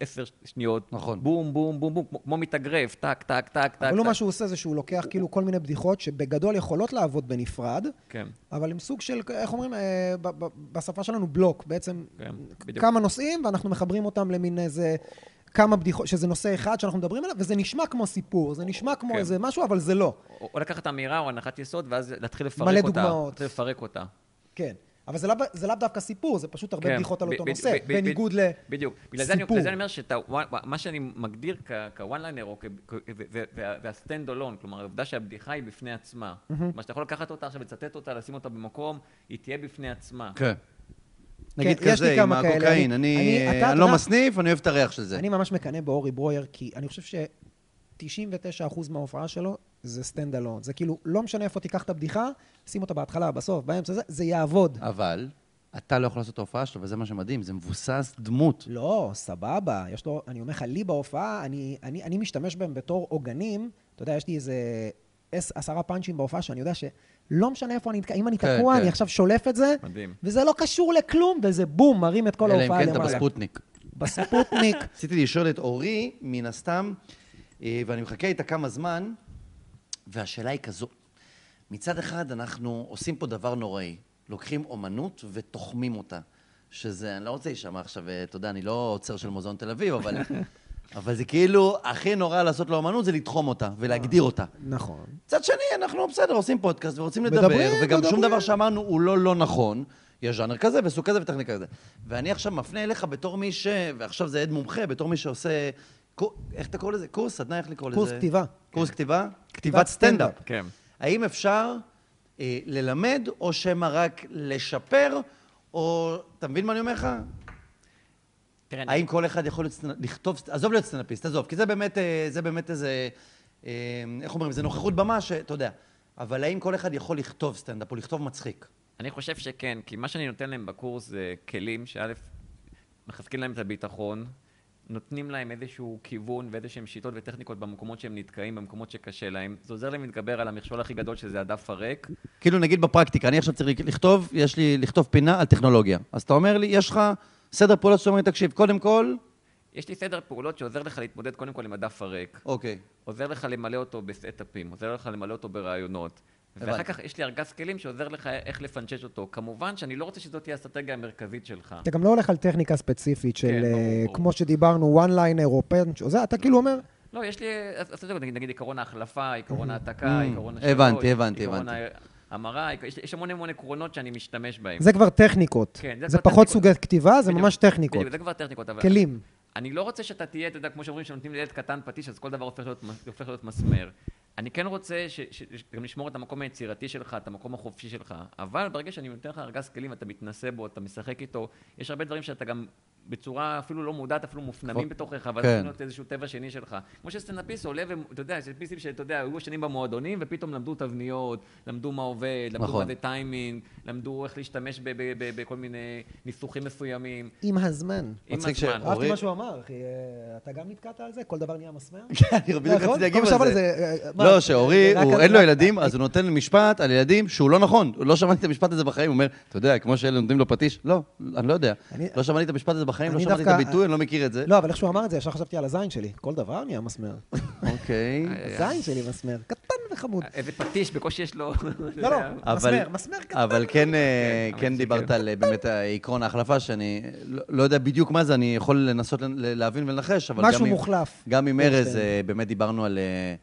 10 שניות, נכון. בום, בום, בום, בום, כמו- כמו מתאגרף, טק, טק, טק, טק. אבל הוא טק. מה שהוא עושה זה שהוא לוקח כאילו כל מיני בדיחות שבגדול יכולות לעבוד בנפרד, כן. אבל הם סוג של, איך אומרים, אה, ב- ב- בשפה שלנו בלוק, בעצם כן, בדיוק. כמה נושאים ואנחנו מחברים אותם למין איזה... כמה בדיחות, שזה נושא אחד שאנחנו מדברים עליו, וזה נשמע כמו סיפור, זה נשמע כמו כן. איזה משהו, אבל זה לא. או או לקחת אמירה או הנחת יסוד, ואז להתחיל לפרק מלא אותה. דוגמאות. להתחיל לפרק אותה. כן. אבל זה לאו זה לאו דווקא סיפור, זה פשוט הרבה כן, בדיחות על ב- אותו ב- נושא, ב- ב- בניגוד ב- ל... בדיוק. בגלל זה אני- סיפור. בגלל זה אני אומר שאתה, מה שאני מגדיר כוואן ליינר, או כ- כ- ו- ו- וה- והסטנד אלון, כלומר, העובדה שהבדיחה היא בפני עצמה. מה שאתה יכול לקחת אותה עכשיו, לצטט אותה, לשים אותה במקום, היא תהיה בפני עצמה. כן. נגיד כן, יש לי כזה, עם כמה כאלה. הקוקאין. אני- אני אני- אתה- אה, אתה לא יודע- מסניף, אני אוהב את הריח של זה. אני ממש מקנא באורי ברויר, כי אני חושב ש-99% מההופעה שלו זה סטנד אלון. זה כאילו, לא משנה איפה תיקח את הבדיחה, שים אותה בהתחלה, בסוף, באמצע זה, זה יעבוד. אבל, אתה לא יכול לעשות את ההופעה שלו, וזה מה שמדהים, זה מבוסס דמות. לא, סבבה. יש לו, אני אומר לך, לי בהופעה, אני, אני, אני משתמש בהם בתור עוגנים. אתה יודע, יש לי איזה עש, עשרה פאנצ'ים בהופעה שאני יודע שלא משנה איפה אני נתקע, אם אני כן, תקוע, כן. אני עכשיו שולף את זה, מדהים. וזה לא קשור לכלום, וזה בום, מרים את כל אלא אם ההופעה כן אתה למעלה. בספוטניק. בספוטניק. רציתי לשאול את אורי, מן הסתם, אה, ואני מחכה איתה כמה זמן, והשאלה היא כזו. מצד אחד, אנחנו עושים פה דבר נוראי. לוקחים אומנות ותוחמים אותה. שזה, אני לא רוצה להישמע עכשיו, אה, אתה יודע, אני לא עוצר של מוזיאון תל אביב, אבל... אבל זה כאילו, הכי נורא לעשות לאומנות זה לתחום אותה ולהגדיר אותה. נכון. מצד שני, אנחנו בסדר, עושים פודקאסט ורוצים לדבר, מדברים, וגם שום מדברים. דבר שאמרנו הוא לא לא נכון. יש ז'אנר כזה וסוג כזה וטכניקה כזה. ואני עכשיו מפנה אליך בתור מי ש... ועכשיו זה עד מומחה, בתור מי שעושה... קו- איך אתה קורא לזה? קורס? סדנה, איך לקרוא לזה? קורס כתיבה. כן. קורס כתיבה? כתיבת סטנדאפ. סטנדאפ. כן. האם אפשר אה, ללמד, או שמא רק לשפר, או... אתה מבין מה אני אומר לך? תראה, אני- האם כל אחד יכול להיות סטנ- לכתוב, סט- עזוב להיות סטנדאפיסט, עזוב, כי זה באמת, אה, זה באמת איזה, אה, איך אומרים, זה נוכחות במה שאתה יודע. אבל האם כל אחד יכול לכתוב סטנדאפ או לכתוב מצחיק? אני חושב שכן, כי מה שאני נותן להם בקורס זה כלים שא', מחזקים להם את הביטחון, נותנים להם איזשהו כיוון ואיזשהם שיטות וטכניקות במקומות שהם נתקעים, במקומות שקשה להם. זה עוזר להם להתגבר על המכשול הכי גדול שזה הדף הריק. כאילו נגיד בפרקטיקה, אני עכשיו צריך לכתוב, יש לי לכתוב פינה על טכנולוגיה. אז אתה אומר לי, יש לך סדר פעולות שאתה אומר לי, תקשיב, קודם כל, יש לי סדר פעולות שעוזר לך להתמודד קודם כל עם הדף הריק, אוקיי. עוזר לך למלא אותו בסטאפים, עוזר לך למלא אותו ברעיונות, ואחר כך יש לי ארגז כלים שעוזר לך איך לפנצ'ץ' אותו. כמובן שאני לא רוצה שזאת תהיה האסטרטגיה המרכזית שלך. אתה גם לא הולך על טכניקה ספציפית של, כן, ברור, אה, ברור. כמו שדיברנו, one liner או פנץ' או זה, אתה כאילו אומר, לא, יש לי אסטרטגיות, נגיד, נגיד עקרון ההחלפה, Mm-hmm. עקרון ההעתקה, Mm, עקרון השאלות, הבנתי, הבנתי, עקרון הבנתי. ההמרה, עק- יש- יש המון המון עקרונות שאני משתמש בהם. זה כבר טכניקות. כן, זה כבר פחות טכניקות. סוגי כתיבה, זה בדיוק, ממש טכניקות. בדיוק, זה כבר טכניקות, אבל... כלים. אני לא רוצה שאתה תהיה, אתה יודע, כמו שאומרים, שנותנים לילד קטן פטיש, אז כל דבר הופך להיות, מס- הופך להיות מסמר. אני כן רוצה ש- ש- ש- גם לשמור את המקום היצירתי שלך, את המקום החופשי שלך, אבל ברגע שאני נותן לך ארגז כלים, אתה מתנסה בו, אתה משחק איתו, יש הרבה דברים שאתה גם בצורה אפילו לא מודעת, אפילו מופנמים נכון. כבר- בתוכך, אבל כן. זה להיות איזשהו טבע שני שלך. כמו שסטנדאפיסט עולה, ואתה יודע, סטנדאפיסטים שאתה יודע, היו שנים במועדונים, ופתאום למדו תבניות, למדו מה עובד, למדו נכון. מה זה טיימינג, למדו איך להשתמש ב- ב- ב- בכל מיני ניסוחים מסוימים. עם הזמן. עם מצחיק הזמן. שאור- אהבתי אורי- מה שהוא אמר, אחי. אה, אתה גם נתקעת על זה? כל דבר נהיה מסמר? כן, בדיוק נכון? רציתי להגיב פעם על שעברה זה. זה, אה, מה, לא, שאורי, רק הוא- על- אין לו רק- ילדים, אז הוא נותן משפט על ילדים שהוא לא נכון. הוא לא שמעתי את המשפט הזה בחיים, הוא אומר, אתה יודע, כמו שאלה נותנים לו פטיש, לא, אני לא יודע. אני- לא שמעתי את המשפט הזה בחיים, לא אני שמעתי את דווקא- הביטוי, אני לא מכיר את זה. לא, אבל איך שהוא אמר את זה, ישר חשבתי על הזין שלי. כל דבר נהיה מסמר. אה, אוקיי. הזין שלי מסמר, קטן וחמוד. איזה פטיש, בקושי יש לו... לא, לא, אבל- מסמר, מסמר קטן. אבל כן, אה, אבל כן זה דיברת כן. על אה, באמת עקרון ההחלפה, שאני לא- לא יודע בדיוק מה זה, אני יכול לנסות לנ- להבין ולנחש, אבל גם משהו עם- מוחלף. גם עם ארז, כן. אה, באמת דיברנו על... אה,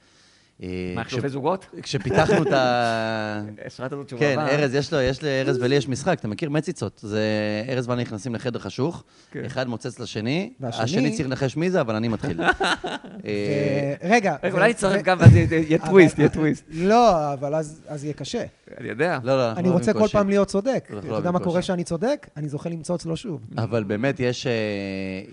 אה, מה, כש- חילופי זוגות? כשפיתחנו את ה... השארת לנו תשובה. כן, הבאה. ארז, יש לו, יש לארז ולי יש משחק, אתה מכיר מציצות. זה ארז ואני נכנסים לחדר חשוך, כן. אחד מוצץ לשני, והשני- השני צריך לנחש מי זה, אבל אני מתחיל. אה, אה, רגע. רגע, ו- אולי ו- יצטרף גם, ואז יהיה- יהיה אבל- טוויסט, יהיה טוויסט. לא, אבל אז אז יהיה קשה. אני יודע. לא, לא, אנחנו אני לא רוצה כל בקושי. פעם להיות צודק. אנחנו אתה לא יודע מה בקושי. קורה כשאני צודק? אני זוכה למצוא אצלו שוב. אבל באמת, יש, אה,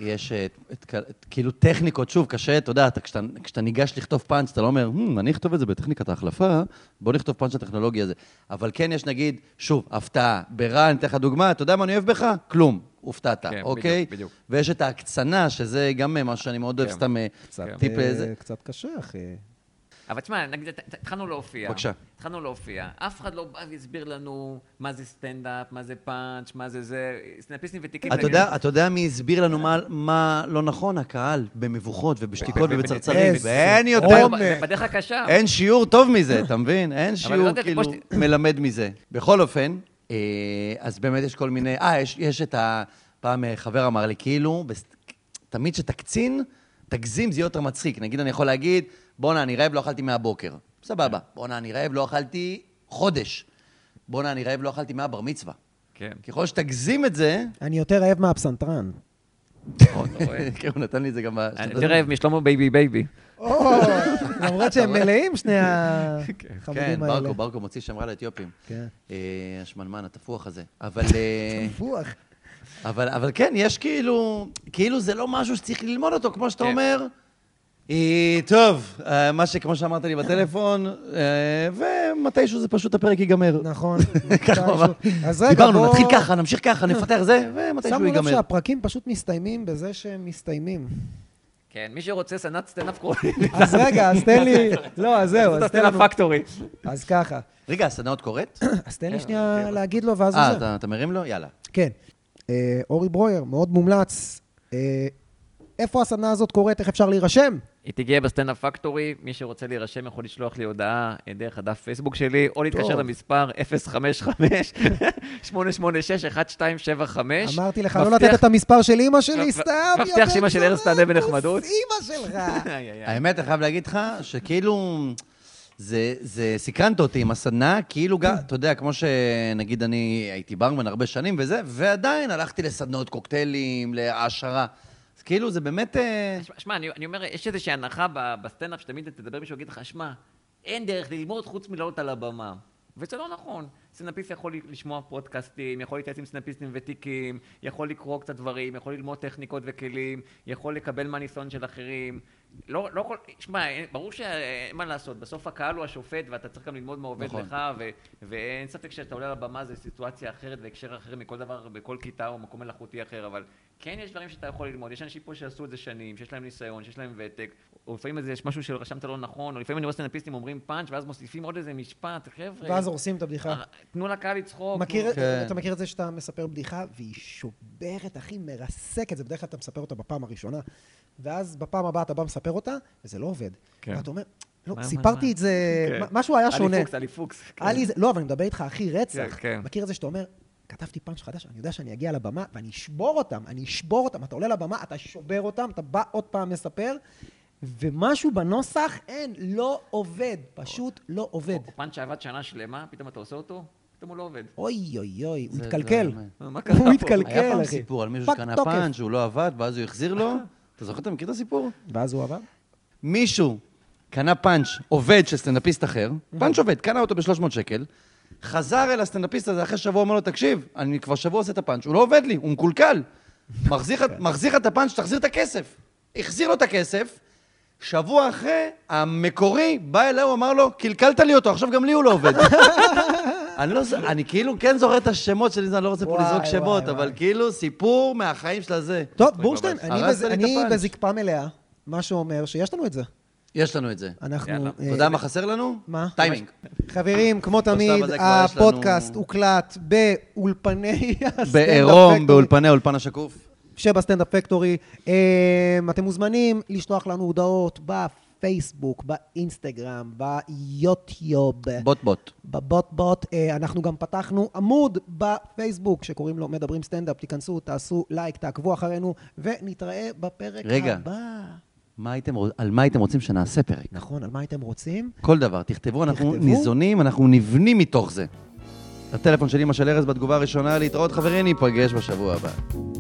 יש אה, את- את- את- כאילו טכניקות, שוב, קשה, אתה יודע, אתה- כשאתה כשאתה ניגש לכתוב פאנץ', אתה לא אומר, "Hmm, אני אכתוב את זה בטכניקת ההחלפה, בוא נכתוב פאנץ' לטכנולוגיה הזה. אבל כן יש, נגיד, שוב, הפתעה. ברע, אני אתן לך דוגמה, אתה יודע מה אני אוהב בך? כלום. הופתעת, כן, אוקיי? בדיוק, בדיוק. ויש את ההקצנה, שזה גם אה, משהו שאני מאוד אוהב, כן. סתם אה, קצת, טיפ אה, לזה. קצת קשה, אחי. אבל תשמע, נגיד, הת- הת- התחלנו להופיע. בבקשה. התחלנו להופיע. אף אחד לא בא והסביר לנו מה זה סטנדאפ, מה זה פאנץ', מה זה זה. סטנדאפיסטים ותיקים. אתה יודע, אתה יודע מי הסביר לנו מה, מה לא נכון? הקהל, במבוכות ובשתיקות ו- ובצרצרים. איזה ואין יותר, עומק. זה בדרך הקשה. אין שיעור טוב מזה, אתה מבין? אין אה. לא שיעור יודעת, כאילו כמו ש- מלמד מזה. בכל אופן, אה, אז באמת יש כל מיני... אה, יש- יש את ה... פעם אה, חבר אמר לי, כאילו, בס- תמיד כשאתה קצין, תגזים, זה יהיה יותר מצחיק. נגיד, אני יכול להגיד, בואנה, אני רעב, לא אכלתי מהבוקר. סבבה. כן. בואנה, אני רעב, לא אכלתי חודש. בואנה, אני רעב, לא אכלתי מהבר מצווה. כן. ככל שתגזים את זה... אני יותר רעב מהפסנתרן. אתה רואה? כן, הוא נתן לי את זה גם... ב- אני יותר רעב משלמה בייבי בייבי. או, למרות שהם מלאים, שני כן, החמודים האלה. ברקו, ברקו מוציא שם רע לאתיופים. כן. אה, השמנמן, התפוח הזה. אבל, אה, ברקו. אבל, אבל כן, יש כאילו, כאילו זה לא משהו שצריך ללמוד אותו, כמו שאתה כן. אומר. אה, טוב, אה, מה שכמו שאמרת לי בטלפון, אה, ומתישהו זה פשוט הפרק ייגמר. נכון. ככה הוא אמר. אז רגע, דיברנו, בוא- נתחיל ככה, נמשיך ככה, נפתח זה, ומתישהו שמנו לב ייגמר. שהפרקים פשוט מסתיימים בזה שהם מסתיימים. כן, מי שרוצה סנאט סטנדאפ קרובי. אז רגע, אז תן לי... לא, אז זהו, אז תן סטנדאפ לנו... פקטורי. אז ככה. רגע, הסדנאות קורית? אז תן לי כן, שנייה אוקיי. להגיד לו, ואז הוא אה, זה. אתה- אתה מרים לו? יאללה. כן. אה, אורי ברויר, מאוד מומלץ. אה, איפה הסדנה הזאת קורית? איך אפשר להירשם? היא תגיע בסטנדאפ פקטורי, מי שרוצה להירשם יכול לשלוח לי הודעה אה, דרך הדף פייסבוק שלי, או להתקשר טוב. למספר 055-886-1275. אמרתי לך לא לתת את המספר של אימא שלי, מבטיח- סתם. מבטיח יא בן שאמא של ארז זונה, תענה בנחמדות. כוס אימא שלך. האמת, אני חייב להגיד לך, שכאילו, זה, זה סקרנת אותי עם הסדנה, כאילו גם, אתה יודע, כמו שנגיד אני הייתי ברמן הרבה שנים וזה, ועדיין הלכתי לסדנאות קוקטיילים, להעשרה. אז כאילו, זה באמת... אה, שמע, שמע, אני אני אומר, יש איזושהי הנחה ב- בסטנדאפ שתמיד אתה תדבר עם מישהו ויגיד לך, שמע, אין דרך ללמוד חוץ מלעלות על הבמה. וזה לא נכון. סטנדאפיסט יכול לשמוע פודקאסטים, יכול להתייעץ עם סטנדאפיסטים ותיקים, יכול לקרוא קצת דברים, יכול ללמוד טכניקות וכלים, יכול לקבל מהניסיון של אחרים. לא, לא יכול, שמע, אין- ברור שאין מה לעשות, בסוף הקהל הוא השופט ואתה צריך גם ללמוד מה עובד נכון. נכון. לך, ו, ואין ספק שאתה עולה על הבמה זה סיטואציה אחרת והקשר אחר מכל דבר, בכל כיתה או מקום מלאכותי אחר, אבל כן יש דברים שאתה יכול ללמוד, יש אנשים פה שעשו את זה שנים, שיש להם ניסיון, שיש להם ותק, או לפעמים איזה- יש משהו שרשמת לא נכון, או לפעמים אני רואה סטנדאפיסטים אומרים פאנץ' ואז מוסיפים עוד איזה משפט, חבר'ה, ואז הורסים את הבדיחה. אה, תנו לקהל לצחוק. מכיר, נו. כן. אתה מכיר את זה שאתה מספר בדיחה והיא שוברת, אחי, מרסקת, זה בדרך כלל אתה מספר אותה בפעם הראשונה, ואז בפעם הבאה אתה בא מספר אותה, וזה לא עובד. כן. ואתה אומר, לא, מה- מה- סיפרתי את זה, כן. מ- אה, משהו היה שונה. עלי פוקס, עלי פוקס. כן. היה לי איזה- לא, אבל אני מדבר איתך, אחי, רצח. כן, כן. מכיר את זה שאתה אומר, כתבתי פאנץ' חדש, אני יודע שאני אגיע לבמה ואני אשבור אותם, אני אשבור אותם. אתה עולה לבמה, אתה שובר אותם, אתה בא עוד פעם מספר, ומשהו בנוסח, אין, לא עובד, פשוט לא עובד. פאנץ' שעבד שנה שלמה, פתאום אתה עושה אותו, פתאום הוא לא עובד. אוי אוי אוי, הוא זה- זה התקלקל. לא יאמן. מה קרה פה? הוא התקלקל, אחי. היה פעם סיפור על מישהו פג שקנה תוקף. פאנץ', שהוא לא עבד, ואז הוא החזיר לו. אתה זוכר, אתה מכיר את הסיפור? ואז הוא עבר? מישהו קנה פאנץ' עובד של סטנדאפיסט אחר, נכון. פאנץ' עובד, קנה אותו ב-300 שקל, חזר אל הסטנדאפיסט הזה אחרי שבוע, אומר לו, תקשיב, אני כבר שבוע עושה את הפאנץ', הוא לא עובד לי, הוא מקולקל. מחזיר לך- כן. מחזיר לך את הפאנץ', תחזיר את הכסף. החזיר לו את הכסף, שבוע אחרי, המקורי בא אליו, הוא אמר לו, קלקלת לי אותו, עכשיו גם לי הוא לא עובד. אני לא, ז- אני כאילו כן זוכר את השמות שלי, אני לא רוצה פה וואי, לזרוק וואי, שמות, וואי. אבל כאילו סיפור מהחיים של הזה. טוב, בורשטיין, ממש. אני הרסת בז- לי את אני הפאנץ'. בזקפה מלאה, מה שאומר שיש לנו את זה. יש לנו את זה. אנחנו... יאללה. אה, אתה יודע מה חסר לנו? מה? טיימינג. חברים, כמו תמיד, הזה כבר יש לנו- הפודקאסט הוקלט באולפני הסטנדאפ בעירום, פקטורי. באולפני אולפן השקוף. שבסטנדאפ פקטורי. אמ, אתם מוזמנים לשלוח לנו הודעות בפייסבוק, באינסטגרם, ביוטיוב. בוט בוט. בבוט בוט, אה, אנחנו גם פתחנו עמוד בפייסבוק שקוראים לו מדברים סטנדאפ, תיכנסו, תעשו לייק, תעקבו אחרינו ונתראה בפרק רגע. הבא. מה הייתם רוצ- על מה הייתם רוצים שנעשה פרק? נכון, על מה הייתם רוצים? כל דבר, תכתבו, אנחנו תכתבו. ניזונים, אנחנו נבנים מתוך זה. הטלפון של אמא של ארז בתגובה הראשונה, להתראות חברים, ניפגש בשבוע הבא.